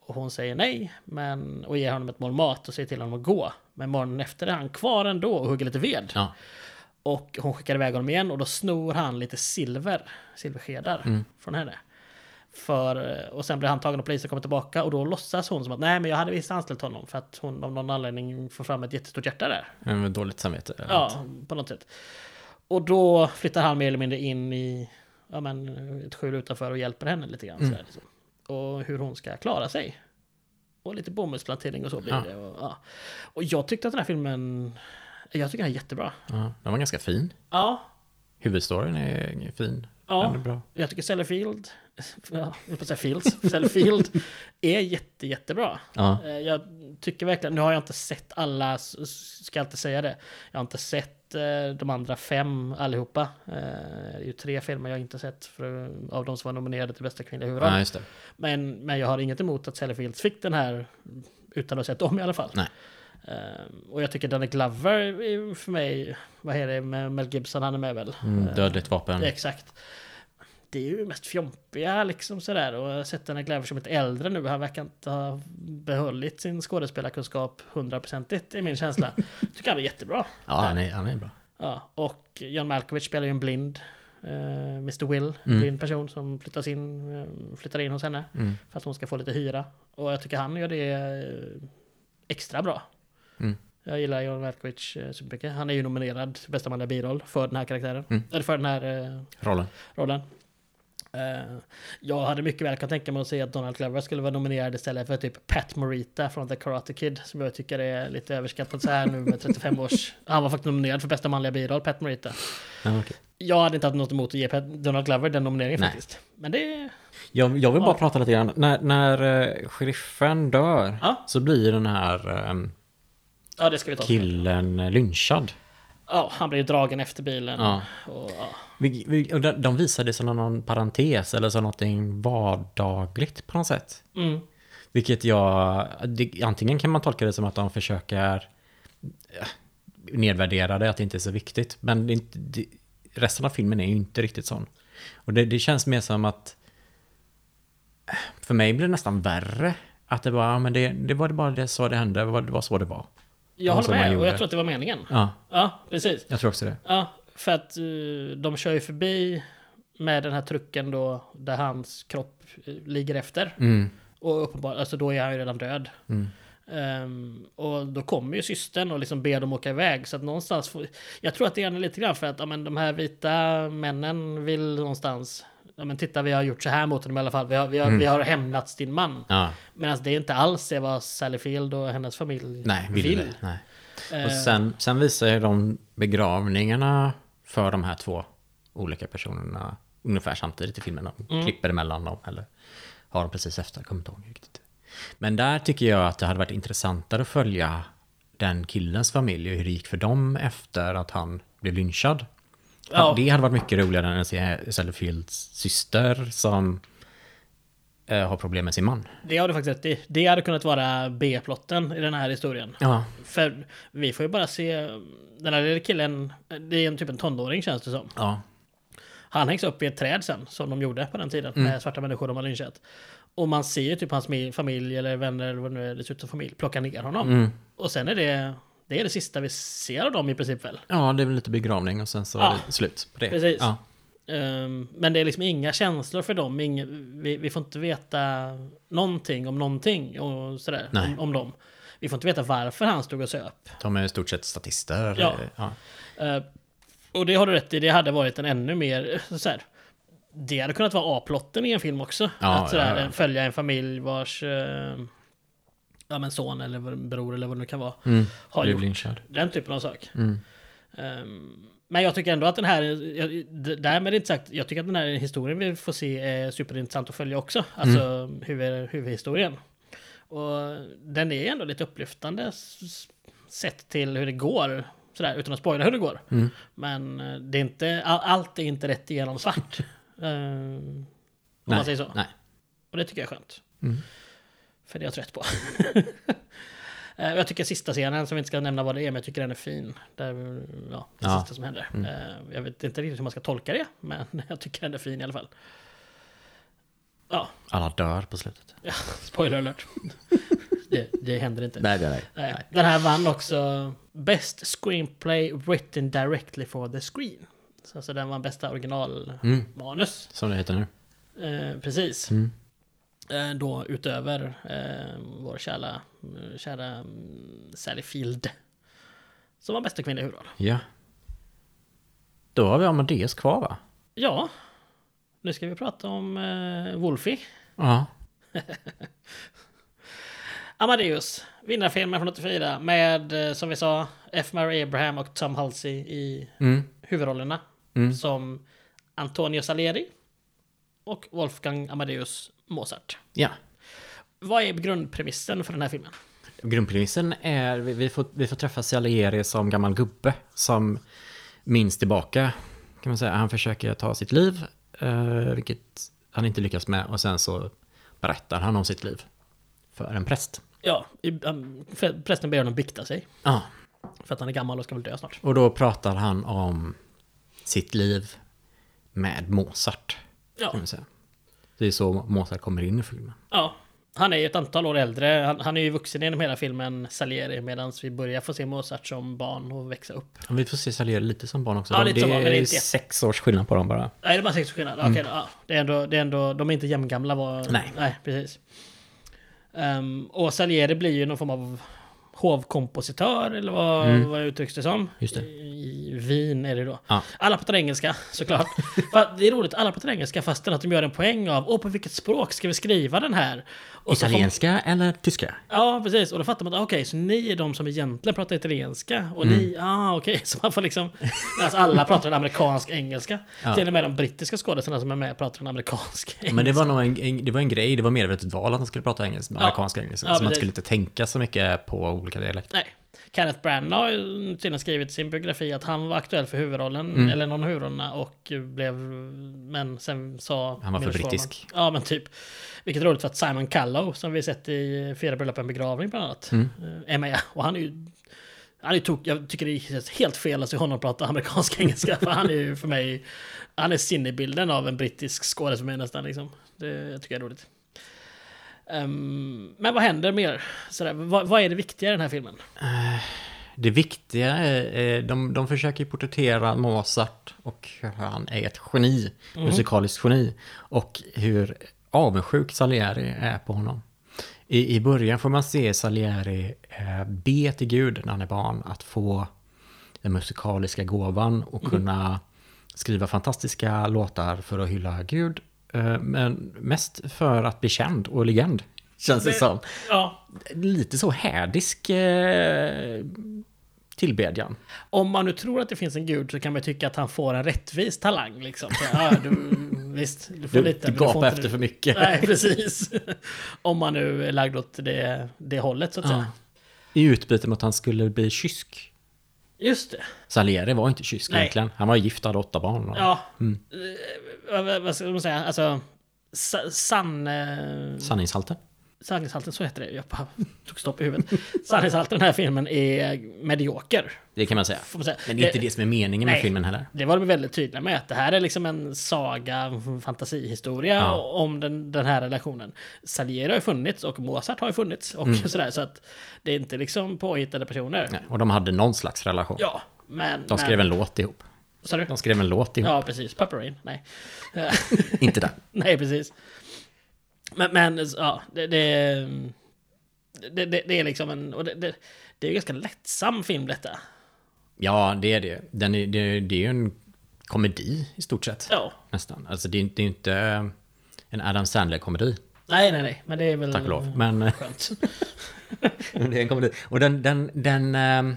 Och hon säger nej, men, och ger honom ett mål mat och säger till honom att gå. Men morgonen efter är han kvar ändå och hugger lite ved. Ja. Och hon skickar iväg honom igen och då snor han lite silver, silverskedar från henne. För, eh, och sen blir han tagen av polisen och kommer tillbaka och då låtsas hon som att nej men jag hade visst anställt honom för att hon av någon anledning får fram ett jättestort hjärta där. Men med dåligt samvete. Ja, på något sätt. Och då flyttar han mer eller mindre in i ja, men, ett skjul utanför och hjälper henne lite grann. sådär, liksom. Och hur hon ska klara sig. Och lite bomullsplantering och så blir Ja. det. Och, ja. och jag tyckte att den här filmen, jag tycker den är jättebra. Ja, den var ganska fin. Ja, Huvudstoryn är fin. Ja. Den är bra. Jag tycker Sellafield, ja, jag höll på att säga Fields, Sellafield är jätte, jättebra. Ja. Eh, Jag tycker verkligen, nu har jag inte sett alla, s- s- ska jag inte säga det, jag har inte sett eh, de andra fem allihopa. Eh, Det är ju tre filmer jag inte sett för, eh, av de som var nominerade till bästa kvinnliga huvudroll. Ja, just det. Men, men jag har inget emot att Sellafield fick den här utan att ha sett dem i alla fall. Nej. Eh, Och jag tycker Danny Glover är för mig, vad är det med Mel Gibson, han är med väl? Mm, dödligt vapen. Ja, Exakt. Det är ju mest fjompiga liksom sådär. Och jag har sett den här Glover som ett äldre nu. Han verkar inte ha behållit sin skådespelarkunskap hundraprocentigt i min känsla. Tycker han är jättebra. Ja, han är, han är bra. Ja, och John Malkovich spelar ju en blind eh, Mr Will blir en person som flyttas in, eh, flyttar in hos henne Mm. för att hon ska få lite hyra. Och jag tycker han gör det eh, extra bra. Mm. Jag gillar John Malkovich eh, supermycket. Han är ju nominerad till bästa manliga biroll för den här karaktären. Eller för den här eh, Rollen. rollen. Eh, jag hade mycket väl kunnat tänka mig att se att Donald Glover skulle vara nominerad istället för typ Pat Morita från The Karate Kid som jag tycker är lite överskattad så här nu med 35 års... Han var faktiskt nominerad för bästa manliga biroll, Pat Morita. Ja, okej. Jag hade inte haft något emot att ge Pat, Donald Glover den nomineringen Nej. faktiskt. Men det... Jag, jag vill bara Ja. prata lite grann. När, när eh, sheriffen dör Ja. så blir den här ehm, Ja, det ska vi ta. killen eh, lynchad. Ja, han blir ju dragen efter bilen. Ja. Och, ja. Vi- vi- och de- De visar det som någon parentes eller som någonting vardagligt på något sätt. Mm. Vilket jag... Det, antingen kan man tolka det som att de försöker eh, nedvärdera det, att det inte är så viktigt. Men det, är inte- det, resten av filmen är ju inte riktigt sån. Och det, det känns mer som att... eh, För mig blir det nästan värre. Att det bara, ja, men det, det var bara det, så det hände, det var, det var så det var. Jag håller som han med och jag gjorde. tror att det var meningen. Ja, Ja, precis. jag tror också det. Ja, för att eh, de kör ju förbi med den här trucken då där hans kropp eh, ligger efter. Mm, Och uppenbart, alltså då är han ju redan död. Ehm, och då kommer ju systern och liksom ber dem åka iväg. Så att någonstans, får, jag tror att det är lite grann för att ja, men de här vita männen vill någonstans, ja men titta vi har gjort så här mot honom i alla fall, vi har, vi har, vi har hämnats din man. Mm. ja. Medan det inte alls är vad Sally Field och hennes familj Nej, ville. vill. Nej. Eh, Och sen, sen visar ju de begravningarna för de här två olika personerna ungefär samtidigt i filmen. De Mm. klipper emellan dem eller har dem precis efter, jag kommer inte ihåg riktigt. Men där tycker jag att det hade varit intressantare att följa den killens familj och hur det gick för dem efter att han blev lynchad. Ja. Det hade varit mycket roligare än att se Sellefields syster som eh, har problem med sin man. Det har du faktiskt rätt i. Det hade kunnat vara B-plotten i den här historien. Ja, För vi får ju bara se den här lilla killen, det är en typ en tonåring känns det som. ja. Han hängs upp i ett träd sen, som de gjorde på den tiden, med svarta människor de har lynchat. Och man ser ju typ hans mi- familj eller vänner eller vad det nu är, dessutom familj, plocka ner honom. Och sen är det, det är det sista vi ser av dem i princip väl. ja, det är väl lite begravning och sen så Ja. är det slut på det. Precis. Ja. Ehm, men det är liksom inga känslor för dem. Inge, vi, vi får inte veta någonting om någonting och sådär, Nej. om, om dem. Vi får inte veta varför han stod och söp. De är i stort sett statister. Ja. ja. Eh, och det har du rätt i, det hade varit en ännu mer så här. Det hade kunnat vara A-plotten i en film också. Ja, att sådär, ja, ja. följa en familj vars eh, ja, men son eller vad- bror eller vad det nu kan vara Mm. har Blev gjort lynchad. den typen av sak. Ehm, men jag tycker ändå att den här, jag- d- därmed inte sagt, jag tycker att den här historien vi får se är superintressant att följa också. Alltså huvud, huvudhistorien. Och den är ändå lite upplyftande s- s- sett till hur det går. Sådär, utan att spoila hur det går. Men eh, det är inte, all, allt är inte rätt igenom svart. Ehm, om Nej, man säger så. Nej. Och det tycker jag är skönt. Mm. För det är jag trött på. Eh, och jag tycker sista scenen, som vi inte ska nämna vad det är, men jag tycker den är fin. Där, ja, det Ja. Mm. sista som händer. Eh, Jag vet inte riktigt hur man ska tolka det, men jag tycker den är fin i alla fall. Ja, Alla dör på slutet. ja spoiler alert. det, det händer inte. Nej, nej, nej. Nej, Den här vann också Best Screenplay Written Directly for the Screen. Så, så den vann bästa originalmanus. Som det heter nu. Eh, precis. Eh, då utöver eh, vår kära, eh, kära mm, Sally Field. Som var bästa kvinna i huvudroll. Ja. Då har vi Amadeus kvar va? Ja, nu ska vi prata om eh, Wolfie. Ja. Amadeus, vinnarfilmen från 84 med, eh, som vi sa, F. Murray Abraham och Tom Halsey i huvudrollerna. Som Antonio Salieri och Wolfgang Amadeus Mozart. ja. Vad är grundpremissen för den här filmen? Grundpremissen är, vi, vi, får, vi får träffa Salieri som gammal gubbe som minns tillbaka. Kan man säga. Han försöker ta sitt liv, eh, vilket han inte lyckas med. Och sen så berättar han om sitt liv för en präst. Ja, i- um, för- prästen ber honom bikta sig. Ja. För att han är gammal och ska väl dö snart. Och då pratar han om sitt liv med Mozart. Ja. Mm. Kan man säga. Det är så Mozart kommer in i filmen. Ja. Han är ju ett antal år äldre. Han, han är ju vuxen genom hela filmen Salieri medan vi börjar få se Mozart som barn och växa upp. Ja, Vi får se Salieri lite som barn också. Ja, De- lite det som barn, men är inte jätte- sex års skillnad på dem bara. Nej, det är bara sex års skillnad. Okej, då, ja. det är ändå, det är ändå, de är inte jämngamla. Var... Nej. Nej, precis. Ehm, och Salieri blir ju någon form av hovkompositör eller vad, vad uttrycks det som? Just det. I, I Wien är det då. Ja. Alla pratar engelska såklart. För det är roligt, alla pratar engelska fastän att de gör en poäng av åh på vilket språk ska vi skriva den här? Och så får- Italienska eller tyska? Ja, precis. Och då fattar man att okej, så ni är de som egentligen pratar italienska. Och ni, Mm. ah, okej. Så man får liksom... Alltså alla pratar en amerikansk engelska. Ja. Till och med de brittiska skådespelarna som är med pratar en amerikansk engelska. Men det var nog en, en, det var en grej, det var medvetet val att han skulle prata engelska, amerikansk engelska. Ja, så man precis. skulle inte tänka så mycket på olika dialekter. Nej. Kenneth Branagh har ju tydligen skrivit i sin biografi att han var aktuell för huvudrollen, Mm. eller någon av huvudrollerna, och blev... Men sen sa... Han var för Milos Forman- brittisk. Ja, men typ. Vilket är roligt för att Simon Callow, som vi sett i Fyra bröllop och en begravning bland annat, Mm. eh, är med. Och han är ju... Han är ju tok, jag tycker det känns helt fel att se honom prata amerikansk engelska, för han är ju för mig... Han är sinnebilden av en brittisk skådespelare för mig nästan, liksom. Det jag tycker jag är roligt. Ehm, men vad händer mer? Sådär, vad, vad är det viktiga i den här filmen? Det viktiga är, eh, de, de försöker ju porträttera Mozart och hur han är ett geni, musikaliskt geni. Och hur avundsjuk Salieri är på honom. I, i början får man se Salieri eh, be till Gud när han är barn att få den musikaliska gåvan och kunna skriva fantastiska låtar för att hylla Gud. Eh, men mest för att bli känd och legend, känns det som Ja, lite så härdisk eh, tillbedjan. om man nu tror att det finns en gud så kan man ju tycka att han får en rättvis talang liksom. Så, ja, du, visst, du får Du, lite. du men får gapar inte efter det. för mycket. Nej, precis. om man nu är lagd åt det, det hållet så att säga. I utbyte mot att han skulle bli kysk. Just det. Salieri var inte kysk Nej. egentligen. Han var gift och hade åtta barn. och- Ja. Eh, vad- vad ska man säga? Alltså, sa- sann... eh, Sanningshalten. Sanningshalten, så heter det. Jag bara tog stopp i huvudet. Sanningshalten i den här filmen är medioker. Det kan man säga. man säga. Men det är inte Det- det som är meningen med Nej. filmen heller. Det var de väldigt tydliga med, att det här är liksom en saga, en fantasihistoria Mhm. Ja. om den, den här relationen. Salieri har ju funnits och Mozart har ju funnits och sådär, så att det är inte liksom påhittade personer. Mm. Nej. Och de hade någon slags relation. Ja, men... De skrev men, en låt ihop. sa du? De skrev en låt ihop. Ja, precis. Purple Rain. Nej. Inte den. Nej, precis. Men, men ja, det, det, det, det, det är liksom en... Och det, det, det är ju ganska lättsam film detta. Ja, det är det. Den är, det, det är ju en komedi i stort sett. Ja. Nästan. Alltså det är, det är inte en Adam Sandler-komedi. Nej, nej, nej. Men det är väl... Tack och lov. Mm. Men... Skönt. Det är en komedi. Och Mm. den, den, den, ehm,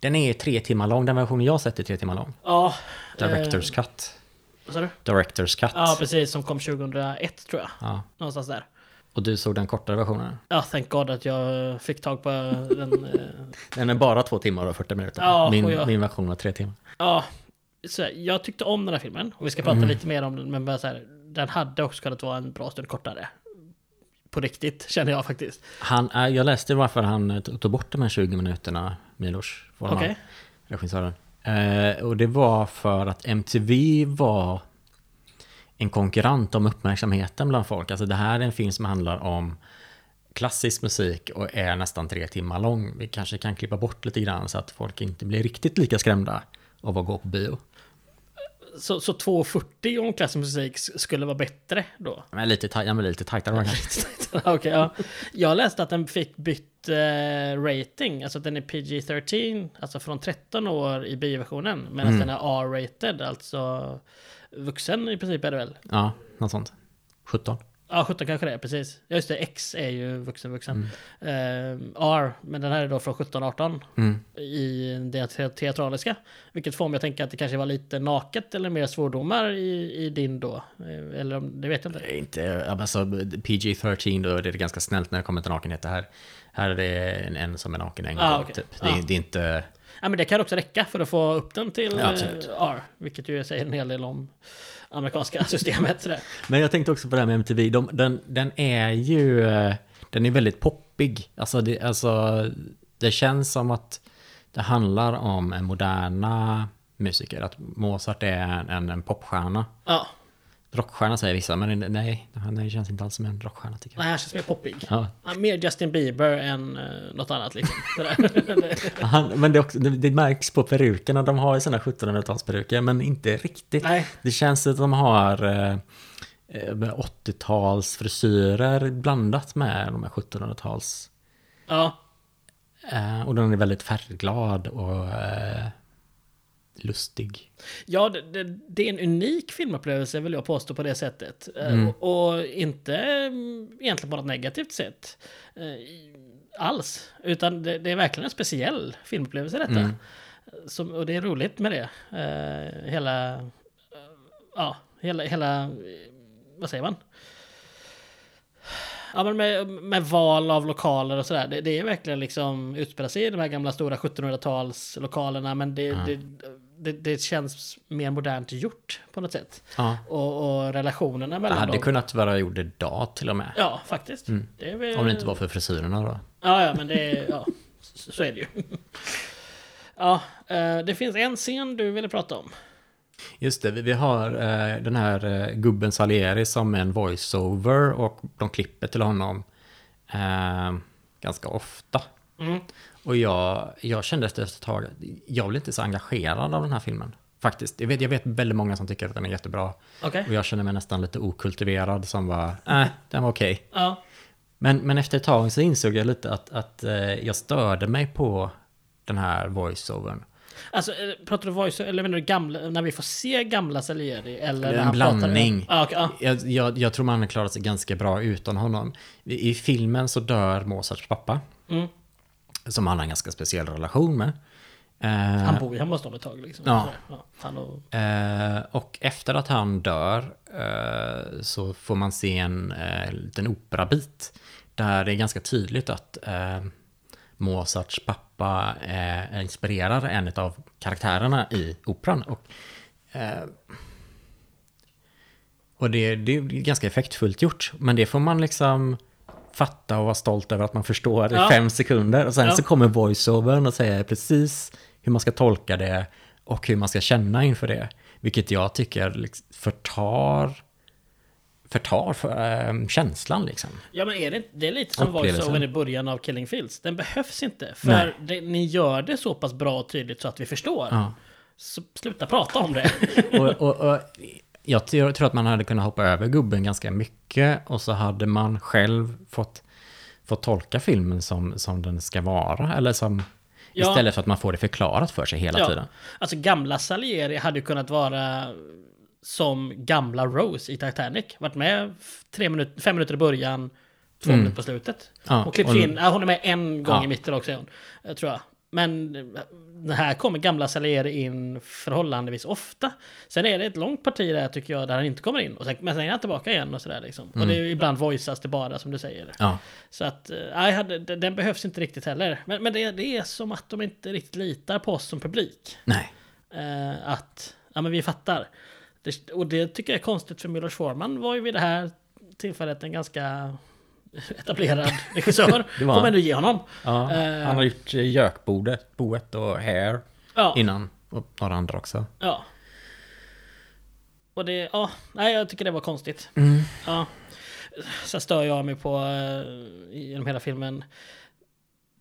den är tre timmar lång. Den versionen jag har sett är tre timmar lång. Ja. Director's cut. eh, Vad sa du? Director's cut. Ja, precis. Som kom 2001 tror jag. Ja. Någonstans där. Och du såg den kortare versionen? Ja, thank God att jag fick tag på den. eh, Den är bara två timmar och 40 minuter. Ja, min, och jag- min version var tre timmar. Ja, så här, jag tyckte om den här filmen. Och vi ska prata lite mer om den. Men bara så här, den hade också kunnat vara en bra stund kortare. På riktigt, känner jag faktiskt. Han, äh, jag läste varför han eh, tog bort de här 20 minuterna, Milos. Forman, Okej. Regissören. Eh, och det var för att MTV var en konkurrent om uppmärksamheten bland folk. Alltså det här är en film som handlar om klassisk musik och är nästan tre timmar lång. Vi kanske kan klippa bort lite grann så att folk inte blir riktigt lika skrämda av att gå på bio. Så, så 2.40 om klassisk musik s- skulle vara bättre då? Men lite, taj- ja, men lite tajtare var det kanske. Okej, ja. Jag läste att den fick bytt eh, rating, alltså att den är PG-13, alltså från 13 år i bioversionen, medan den är R-rated, alltså vuxen i princip är det väl? Ja, något sånt. 17. Ja, 17 kanske det är, precis. Ja, just det, X är ju vuxen, vuxen. Eh, R, men den här är då från 17-18 i det te- teatraliska. Vilket får mig att tänka att det kanske var lite naket eller mer svordomar i, i din då. Eh, Eller om, det vet jag inte. Det är Inte, ja, men alltså PG-13 då, det är ganska snällt när det kommer till nakenhet. Det här, här är det en, en som är naken en gång. Ah, okej. typ. det, är- Ah. det är inte... Ja, men det kan också räcka för att få upp den till Ja, absolut. eh, R, vilket ju säger en hel del om amerikanska systemet. Sådär. Men jag tänkte också på det här med MTV. De, den, den är ju... eh, Den är väldigt poppig. Alltså det, alltså, det känns som att det handlar om en moderna musiker. Att Mozart är en, en popstjärna. Ja, rockstjärna säger vissa, men nej, han nej, känns inte alls som en rockstjärna tycker jag. Nej, han känns mer poppig. Ja. Han är Mer Justin Bieber än uh, något annat liksom. Sådär. Han, men det, är också, det, det märks på perukerna, de har ju sina 1700-talsperuker, men inte riktigt. Nej. Det känns att de har eh, eh, 80-talsfrisyrer blandat med de här 1700-tals... ja, Eh, och den är väldigt färgglad och eh, lustig. ja det, det, det är en unik filmupplevelse vill jag påstå på det sättet. Eh, och, och inte mm, egentligen på något negativt sätt. eh, i- alls. Utan det, det är verkligen en speciell filmupplevelse detta. Som, och det är roligt med det. Eh, hela... eh, ja, hela, hela... eh, Vad säger man? Ja, men med, med val av lokaler och sådär. Det, det är verkligen liksom utspelar sig i de här gamla stora 1700-talslokalerna. Men det, det, det, det känns mer modernt gjort på något sätt. Ja. Och, och relationerna Det mellan hade dem. kunnat vara gjord idag till och med. Ja, faktiskt. Det är väl- Om det inte var för frisyrerna då. Ja, ja, men det är... Ja, så så är det ju. Ja, eh, det finns en scen du ville prata om. Just det, vi, vi har eh, den här eh, gubben Salieri som är en voiceover och de klipper till honom eh, ganska ofta. Och jag, jag kände efter ett tag, jag blev inte så engagerad av den här filmen. Faktiskt. Jag vet, jag vet väldigt många som tycker att den är jättebra. Okej. Och jag känner mig nästan lite okultiverad som var, äh, den var okej. Ja. Men, men efter ett tag så insåg jag lite att, att eh, jag störde mig på den här voiceovern. Alltså, eh, pratar du voice, eller menar du gamla, när vi får se gamla Salieri? Eller En när han pratar- blandning. Ja, okej, ja. Jag, jag, jag tror man har klarat sig ganska bra utan honom. I, i filmen så dör Mozarts pappa. Som han har en ganska speciell relation med. Eh, Han bor ju hemma hos dem ett tag liksom. Ja. Så, ja. Han och... Eh, och efter att han dör eh, så får man se en eh, liten operabit. Där det är ganska tydligt att eh, Mozarts pappa eh, inspirerar en av karaktärerna i operan. Och, eh, och det, det är ganska effektfullt gjort. Men det får man liksom fatta och vara stolt över att man förstår i Ja. fem sekunder. Och sen Ja. så kommer voiceovern och säger precis hur man ska tolka det och hur man ska känna inför det. Vilket jag tycker liksom förtar, förtar för, eh, känslan liksom. Ja, men är det, inte- det är lite som Upplevelsen. voice-overn i början av Killing Fields. Den behövs inte. Nej. För det, ni gör det så pass bra och tydligt så att vi förstår. Ja. Så sluta prata om det. och, och, och jag t- jag tror att man hade kunnat hoppa över gubben ganska mycket och så hade man själv fått, fått tolka filmen som, som den ska vara. Eller som, Ja. Istället för att man får det förklarat för sig hela tiden. Alltså gamla Salieri hade ju kunnat vara som gamla Rose i Titanic. Varit med f- tre minuter, fem minuter i början, två minuter på slutet. Mm. Ja, hon klipps och- in, ja, hon är med en gång Ja. i mitten också, är hon, eh, tror jag. Men eh, här kommer gamla Salieri in förhållandevis ofta. Sen är det ett långt parti där tycker jag, där han inte kommer in. Och sen, men sen är han tillbaka igen och sådär liksom. Och det Mm. är ju ibland voiceas det bara som du säger. Ja. Så att, eh, nej, hade- den den behövs inte riktigt heller. Men, men det, det är som att de inte riktigt litar på oss som publik. Nej. Eh, att ja, men vi fattar. Det, och det tycker jag är konstigt för Milos Forman var ju vid det här tillfället en ganska etablerad regissör. Det Får var man han. ändå ge honom. Ja, Eh, han har gjort eh, Jökboet boet och Hair ja, innan. Och några andra också. Ja. Och det, ja, nej jag tycker det var konstigt. Ja. Sen stör jag mig på, eh, genom hela filmen,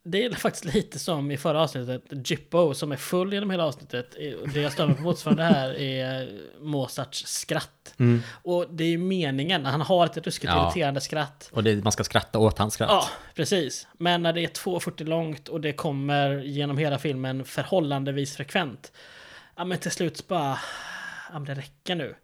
det är faktiskt lite som i förra avsnittet, Jippo som är full genom hela avsnittet. Det jag stör mig på motsvarande här är Mozarts skratt. Och det är ju meningen, han har ett ruskigt Ja. irriterande skratt. Och det, man ska skratta åt hans skratt. Ja, precis. Men när det är 2.40 långt och det kommer genom hela filmen förhållandevis frekvent. Ja, men till slut så bara... Ja, men det räcker nu.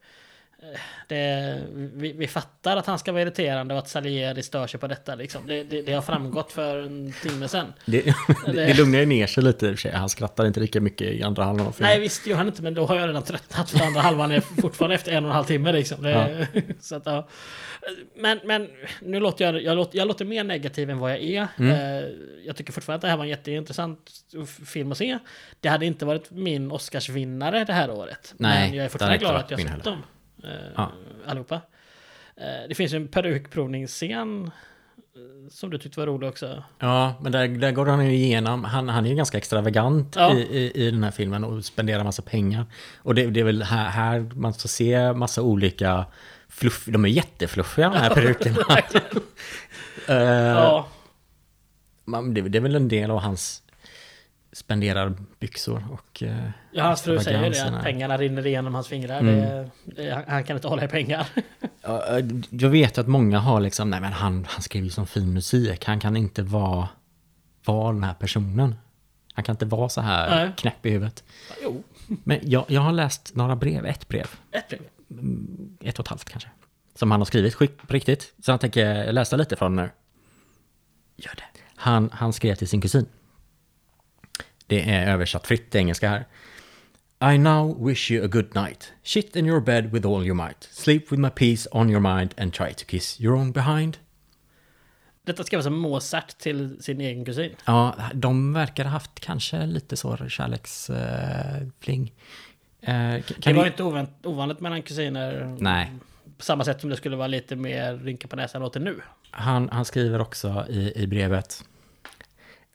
Eh, Det, vi, vi fattar att han ska vara irriterande och att Salieri stör sig på detta. Liksom. Det, det, det har framgått för en timme sedan. Det, det, det lugnar ju ner sig lite i och för sig. Han skrattar inte lika mycket i andra halvan av filmen. Nej, visst gör han inte, men då har jag redan tröttnat för andra halvan är fortfarande efter en och en halv timme liksom. Det, så att, ja. Men, men nu låter jag, jag, låter, jag låter mer negativ än vad jag är. Eh, Jag tycker fortfarande att det här var en jätteintressant f- film att se. Det hade inte varit min Oscarsvinnare det här året. Nej, men jag är det fortfarande hade glad att inte jag varit sett dem. Eh, Ja. Allihopa. Eh, Det finns ju en perukprovningsscen eh, som du tyckte var rolig också. Ja, men där, där går han ju igenom. Han, han är ju ganska extravagant Ja. i, i, i den här filmen och spenderar massa pengar. Och det, det är väl här, här man får se massa olika fluff. De är jättefluffiga de här perukerna. Eh, Ja, man- det, det är väl en del av hans spenderarbyxor och... eh, ja hans fru säger det, extravaganserna. Mm. att pengarna rinner igenom hans fingrar. Det, det, han, han kan inte hålla i pengar. Ja, eh, Jag vet att många har liksom, nej men han, han skriver ju som fin musik, han kan inte vara, vara den här personen. Han kan inte vara så här Nej. knäpp i huvudet. jo, Men jag, jag har läst några brev, ett brev, ett brev. ett och ett halvt kanske. Som han har skrivit skick, på riktigt. Så han tänker läsa lite från nu. Gör det. Han, han skrev till sin kusin. Det är översatt fritt till engelska här. I now wish you a good night. Shit in your bed with all your might. Sleep with my peace on your mind and try to kiss your own behind. Detta skrev alltså Mozart till sin egen kusin. Ja, de verkar ha haft kanske lite så kärleksfling. Eh, k- Det kan var du- ju inte ovänt, ovanligt mellan kusiner. Nej. På samma sätt som det skulle vara lite mer rynka på näsan åt det nu. Han, han skriver också i, i brevet.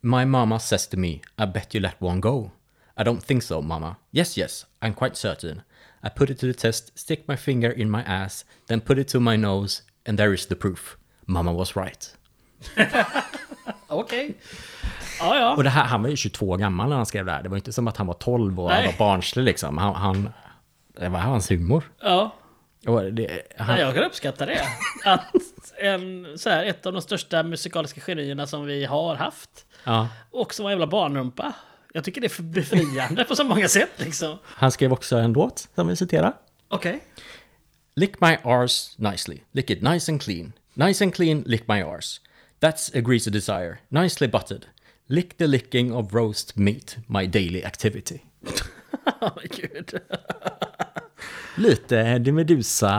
My mama says to me, I bet you let one go. I don't think so, mamma. Yes, yes, I'm quite certain. I put it to the test, stick my finger in my ass, then put it to my nose, and there is the proof. Mamma was right. Okej. Ja, ja. Och det här, han var ju 22 år gammal när han skrev det här. Det var ju inte som att han var 12 och han Nej. var barnslig liksom. Han, han, det var hans humor. ja. Och det, han, Ja, jag kan uppskatta det. Att en, så här, ett av de största musikaliska genierna som vi har haft ja. också var en jävla barnrumpa. Jag tycker det är för- befriande på så många sätt liksom. han skrev också en låt som vi citerar. Okej. Lick my arse nicely. Lick it nice and clean. Nice and clean, lick my arse. That's a greasy desire. Nicely buttered. Lick the licking of roast meat, my daily activity. Gud. Lite det Medusa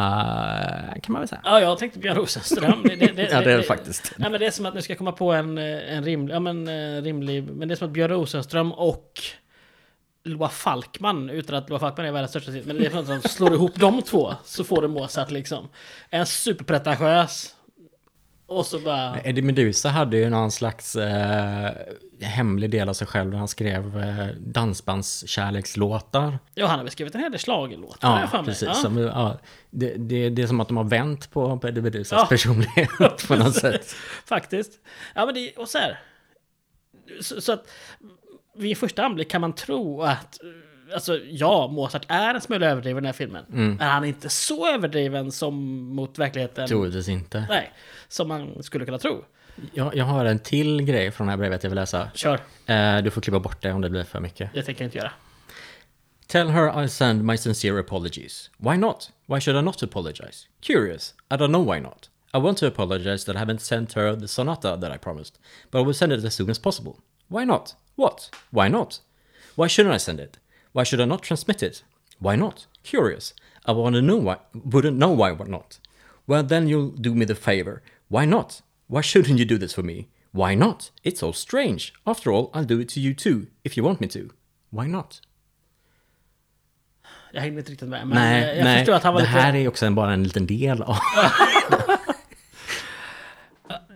kan man väl säga. Ja, jag tänkte Björn Rosenström. Det, det, det, Ja, det är faktiskt. Nej, men det är som att nu ska jag komma på en, eh, en rimlig, ja, men, eh, rimlig... Men det är som att Björn Rosenström och Loa Falkman, utan att Loa Falkman är världens största artist, men det är som att de slår ihop de två så får du Mozart liksom. En superpretentiös. Och så bara... Eddie Medusa hade ju någon slags eh, hemlig del av sig själv när han skrev eh, dansbandskärlekslåtar. Ja, han har väl skrivit en hel del schlagerlåtar. har Ja, jag för mig. precis. Ja. Som, ja, det, det, det är som att de har vänt på, på Eddie Medusas Ja. personlighet på något sätt. Faktiskt. Ja, men det, och så här. Så, så att vid första anblick kan man tro att eh, Alltså ja, Mozart är en smula överdriven i den här filmen. Mm. Men han är inte så överdriven som mot verkligheten. Troligtvis inte. Nej, som man skulle kunna tro. Jag, jag har en till grej från det här brevet jag vill läsa. Kör, Eh, du får klippa bort det om det blir för mycket. det tänker jag inte göra. Tell her I send my sincere apologies. Why not? Why should I not apologize? Curious. I don't know why not. I want to apologize that I haven't sent her the sonata that I promised, but I will send it as soon as possible. Why not? What? Why not? Why shouldn't I send it? Why should I not transmit it? Why not? Curious. I want to know why. Wouldn't know why not. Well, then you'll do me the favor. Why not? Why shouldn't you do this for me? Why not? It's so strange. After all, I'll do it to you too, if you want me to. Why not? Jag hängde inte riktigt med. Men Nej, nej, jag nej. förstår att han var det lite... här är också en- bara en liten del av...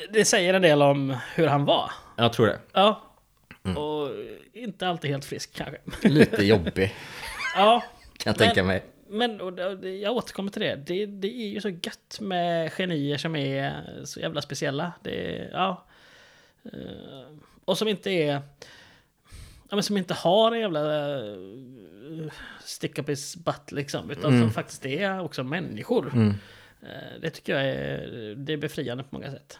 Det säger en del om hur han var. Jag tror det. Ja. Mm. Och inte alltid helt frisk kanske. Lite jobbig, Ja. kan jag Men- tänka mig. Men och det- och det- jag återkommer till det. det. Det är ju så gött med genier som är så jävla speciella. Det är, ja. Eh, Och som inte är... Ja, men som inte har en jävla eh, stick up his butt liksom. Utan Mm. som faktiskt är också människor. Eh, Det tycker jag är, det är befriande på många sätt.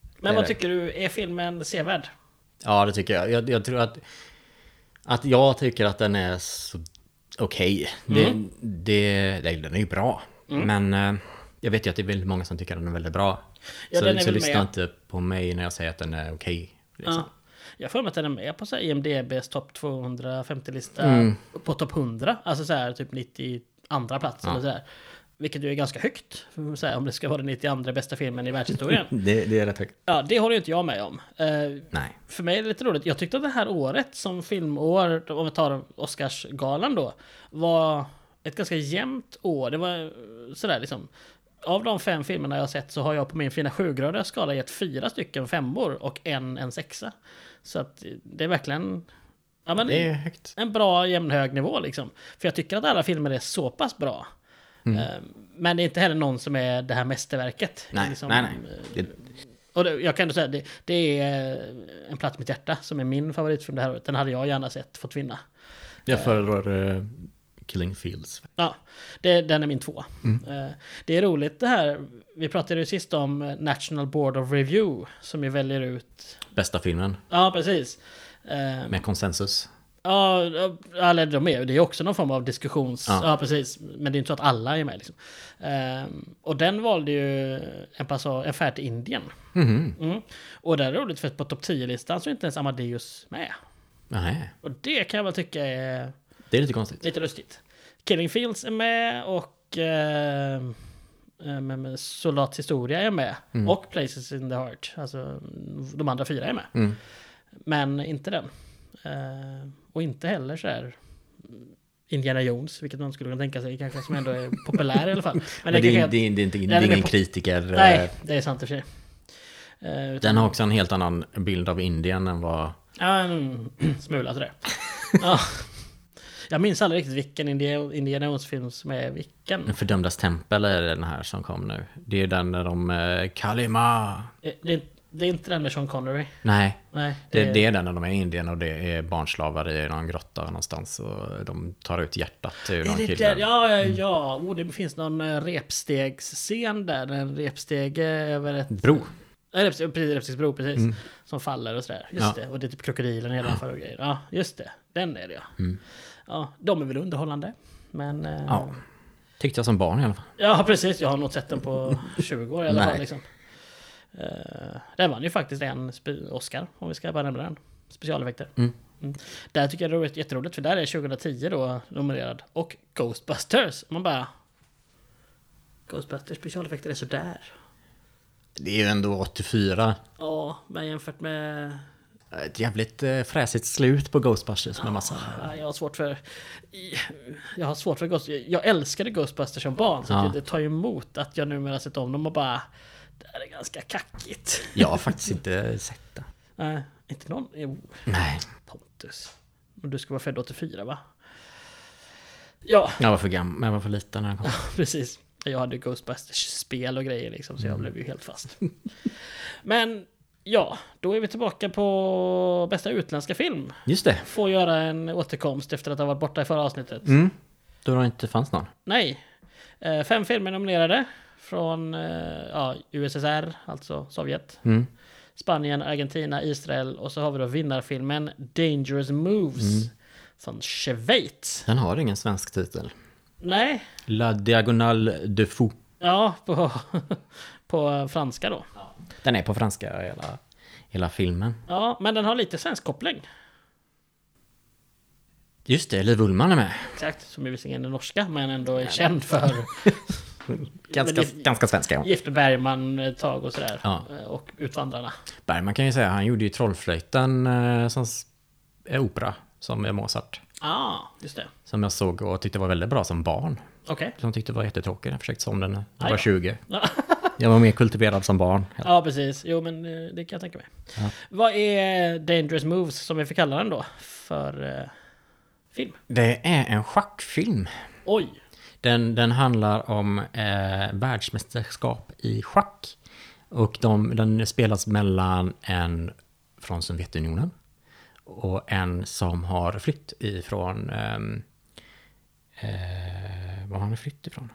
Det är Men vad det. tycker du? Är filmen sevärd? Ja, det tycker jag. Jag, jag tror att... Att jag tycker att den är så okej. Det, Mm. det, nej, den är ju bra. Men eh, jag vet ju att det är väldigt många som tycker att den är väldigt bra. Ja, så den är så väl lyssna med. inte på mig när jag säger att den är okej. liksom. Ja. Jag får mig att den är med på så här IMDBs topp 250-lista på topp 100. Alltså så här typ 92 plats eller så här. Vilket ju är ganska högt. Så här, om det ska vara den 92 bästa filmen i världshistorien. Det, det är rätt högt. ja, det håller ju inte jag med om. Eh, Nej. för mig är det lite roligt. Jag tyckte att det här året som filmår, om vi tar Oscarsgalan då, var ett ganska jämnt år. Det var eh, sådär liksom. av de fem filmerna jag har sett så har jag på min fina sjugradiga skala gett fyra stycken femmor och en en sexa. Så att det är verkligen ja, men Det är högt. en bra jämnhög nivå liksom. För jag tycker att alla filmer är så pass bra. Mm. Eh, Men det är inte heller någon som är det här mästerverket. Nej, Liksom, nej, nej. Det, och det, jag kan ändå säga, det, det är eh, En plats i mitt hjärta som är min favoritfilm det här året. Den hade jag gärna sett fått vinna. jag föredrar eh, Killing Fields. Ja, det, den är min tvåa. Eh, Det är roligt det här, vi pratade ju sist om eh, National Board of Review som ju väljer ut... Bästa filmen Ja, precis. Eh, med konsensus. Ja, ja, eller de är ju- Det är också någon form av diskussions... Ja. Ja. precis. Men det är inte så att alla är med liksom. Ehm, och den valde ju en, passage, en färd till Indien. Mm. Och det är roligt för att på topp 10-listan så är inte ens Amadeus med. Nej, Och det kan jag väl tycka är det är lite konstigt. lite lustigt. Killing Fields är med och... Eh, eh, men- men Soldats historia är med. Mm. Och Places in the Heart. Alltså de andra fyra är med. Mm. Men inte den. Eh, och inte heller så här mm, Indiana Jones, vilket man skulle kunna tänka sig kanske, som ändå är populär i alla fall. Men det det, kanske är, är- det, är, det är inte, det den är är ingen på- kritiker. eh, Nej, det är sant i och för sig. Eh, utan- Den har också en helt annan bild av Indien än vad... Ja, en smula sådär. ja. Jag minns aldrig riktigt vilken Indi- Indiana Jones-film som är vilken. Den fördömdas tempel är den här som kom nu. Det är den där de... eh, Kalima! Eh, Det är, det är inte den med Sean Connery. Nej, Nej, eh, det, det är den när de är i Indien och det är barnslavar i någon grotta någonstans och de tar ut hjärtat ur någon Är det kille. där? Ja, ja, ja. Oh, det finns någon eh, repstegsscen där. En repstege över ett... Bro. Mm. Ja, Repsteg- precis, Repstegsbro, precis. Som faller och sådär. Just Ja. det. Och det är typ krokodilen nedanför och grejer. Ja, just det. Den är det ja. Ja, de är väl underhållande. Men... eh, Mm. Ja. Tyckte jag som barn i alla fall. Ja, precis. Jag har nog sett den på 20 år i alla fall. Nej. Liksom. Eh, den vann ju faktiskt en spe- Oscar, om vi ska bara nämna den. Specialeffekter. Mm. Mm. Där tycker jag det är roligt- jätteroligt, för där är 2010 då nominerad. Och Ghostbusters. Man bara... Ghostbusters specialeffekter är sådär. Det är ju ändå 84. Ja, men jämfört med... Ett jävligt eh, fräsigt slut på Ghostbusters med massa... Ja, Jag har svårt för... Jag har svårt för Ghostbusters. Jag älskade Ghostbusters som barn, så Ja. att det tar ju emot att jag numera sett om dem och bara... Det här är ganska kackigt. Jag har faktiskt inte sett det. Nej, inte någon. Jo, Nej, Pontus. Men du ska vara född 84 va? Ja, jag var för gammal. Jag var för liten när den kom. precis. Jag hade ju Ghostbusters-spel och grejer liksom, så jag blev ju helt fast. Men ja, då är vi tillbaka på bästa utländska film. Just det. Får göra en återkomst efter att ha varit borta i förra avsnittet. Mm. Då det inte fanns någon. Nej. Eh, Fem filmer nominerade från eh, ja, USSR, alltså Sovjet. Mm. Spanien, Argentina, Israel och så har vi då vinnarfilmen Dangerous Moves Mm. från Schweiz. Den har ingen svensk titel. Nej, La Diagonale de Fou. ja, på, på franska då. Den är på franska hela, hela filmen. Ja, men den har lite svensk koppling. Just det, Liv Ullmann är med. Exakt, som ju visserligen är norska, men ändå är känd för Men Ganska, det- ganska svenska. Ja. Gifte Bergman ett tag och sådär. Ja. Eh, Och Utvandrarna. Bergman kan ju säga, han gjorde ju Trollflöjten eh, som s- är opera, som är Mozart. Ja, ah, just det. Som jag såg och tyckte var väldigt bra som barn. Okej. Som tyckte var jättetråkig. Jag försökte se om den när Aj jag då. var 20. Jag var mer kultiverad som barn. Ja, precis. Jo, men eh, det kan jag tänka mig. Vad är Dangerous Moves, som vi får kalla den då, för eh, film? Det är en schackfilm. Oj! Den, den handlar om eh, världsmästerskap i schack. Och de, den spelas mellan en från Sovjetunionen och en som har flytt ifrån... ehm, eh, var har han flytt ifrån?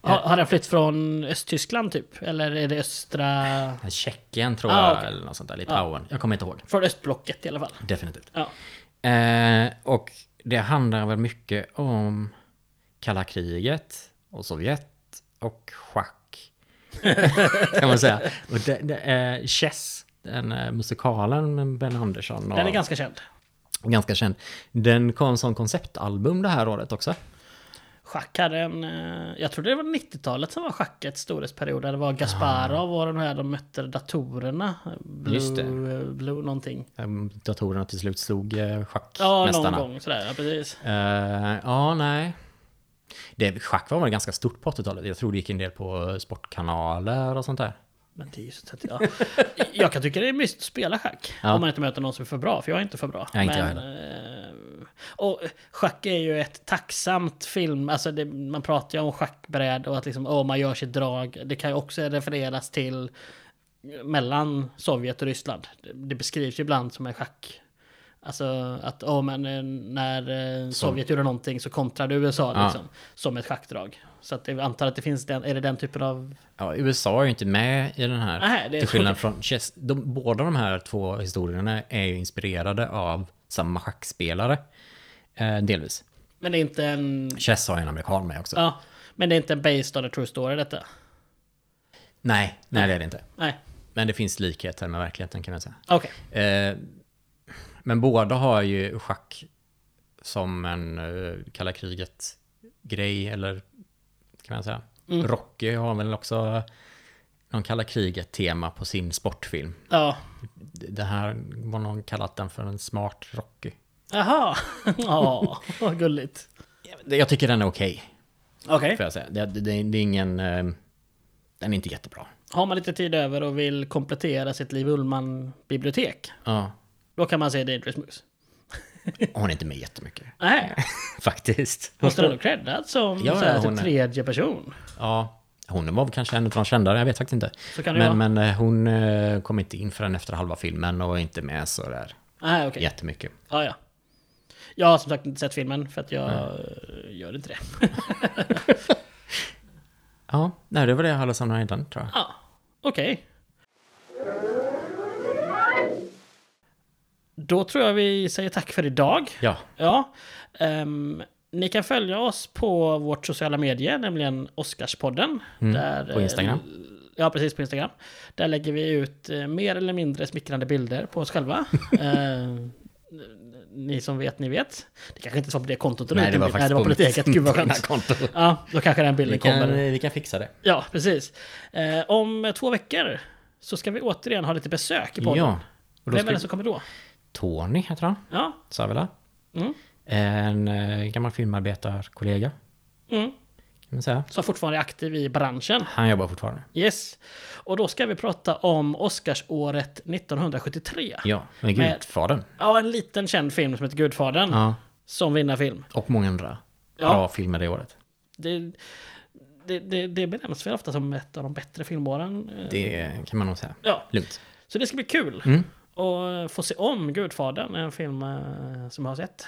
Har, har den flytt från Östtyskland typ? Eller är det östra... Tjeckien tror Ah, jag, okej. eller något sånt där. Litauen. Jag kommer inte ihåg. Från östblocket i alla fall. Definitivt. Ja. Eh, och det handlar väl mycket om kalla kriget och Sovjet och schack. kan man säga. Och det, det är Chess, den eh, musikalen med Ben Andersson. Och, Den är ganska känd. ganska känd. Den kom som konceptalbum det här året också. Schack hade en... eh, Jag tror det var 90-talet som var schackets storhetsperiod. Där det var Gasparov och de här, de mötte datorerna. Blue, Ah. Just det. eh, Blue någonting. Eh, Datorerna till slut slog eh, Ja, någon schackmästarna. gång sådär. Ja, precis. Eh, ja, nej. Det, schack var väl ganska stort på 80-talet. Jag tror det gick en del på eh, sportkanaler och sånt där. Men det är ju så att jag, jag kan tycka det är mysigt att spela schack. Ja. Om man inte möter någon som är för bra, för jag är inte för bra. Nej, inte jag Men, eh, och schack är ju ett tacksamt film, alltså det, man pratar ju om schackbräd och att liksom, åh, man gör sitt drag. Det kan ju också refereras till mellan Sovjet och Ryssland. Det, det beskrivs ju ibland som en schack. Alltså att åh, men, eh, när eh, Sovjet gjorde någonting så kontrade USA Ja. liksom, som ett schackdrag. Så att jag antar att det finns den, är det den typen av Ja, USA är ju inte med i den här. Nej, det är till skillnad från chess. De, båda de här två historierna är ju inspirerade av samma schackspelare. Eh, delvis. Men det är inte en... Chess har ju en amerikan med också. Ja, men det är inte en based on a true story detta. Nej, nej det är det inte. Nej, Men det finns likheter med verkligheten kan man säga. okej. Eh, men båda har ju schack som en eh, kalla kriget-grej, eller kan man säga. Mm. Rocky har väl också någon kalla kriget-tema på sin sportfilm. Ja. Det här var någon kallat den för en smart Rocky. Jaha. Ja, vad gulligt. Jag tycker den är okej, Okej. får jag säga. Det, det, det är ingen... eh, Den är inte jättebra. Har man lite tid över och vill komplettera sitt Liv Ullman-bibliotek, Ja. då kan man se Dangerous Moose. Hon är inte med jättemycket, Nej, faktiskt. hon står ändå creddad som Ja, så här, ja, till hon är- tredje person. Ja, hon var väl kanske en av de kändare, jag vet faktiskt inte. Så kan det men, vara. men eh, hon eh, kom inte in förrän efter halva filmen och var inte med så där Nej, okej. jättemycket. Ja, ja. Jag har som sagt inte sett filmen för att jag eh, gör inte det. Ja, nej, det var det jag hade som redan, tror jag. Ja, okej. Då tror jag vi säger tack för idag. Ja, Ja. ehm, ni kan följa oss på vårt sociala medier, nämligen Oscarspodden. där, Mm, på Instagram. eh, Ja, precis på Instagram. Där lägger vi ut eh, mer eller mindre smickrande bilder på oss själva. Eh, ni som vet, ni vet. Det kanske inte var på det kontot. Nej, det var Nej, faktiskt det var på ditt mitt- eget. Gud vad på mina skönt. konton. Ja, då kanske den bilden Vi kan, eh, kommer. vi kan fixa det. Ja, precis. Eh, om två veckor så ska vi återigen ha lite besök i podden. Ja, och då Vem är det som ska kommer då? Tony heter han, Ja. sa jag väl det? Mm. En eh, gammal filmarbetarkollega, Mm. kan man säga. Som fortfarande är aktiv i branschen. Han jobbar fortfarande. Yes. Och då ska vi prata om Oscarsåret 1973. Ja, med Men- Gudfadern. Ja, en liten känd film som heter Gudfadern. Ja, Som vinnarfilm. och många andra Ja. bra filmer det året. Det, det, det, det benämns väl ofta som ett av de bättre filmåren. Eh, Det Mm. kan man nog säga. Ja, Lugnt. så det ska bli kul. Och eh, få se om Gudfadern, en film eh, som jag har sett.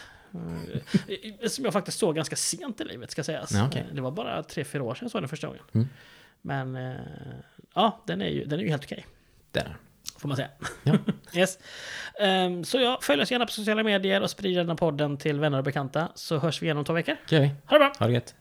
Eh, som jag faktiskt såg ganska sent i livet, ska sägas. Ja, okej. Mm. Eh, Det var bara tre, fyra år sedan jag såg den första gången. Men eh, ja, den är ju, den är ju helt okej. Där. Får man säga. Ja. yes. Ehm, så ja, följ oss gärna på sociala medier och sprid den här podden till vänner och bekanta. Så hörs vi igen om två veckor. Okej, Ha det bra! ha det gött.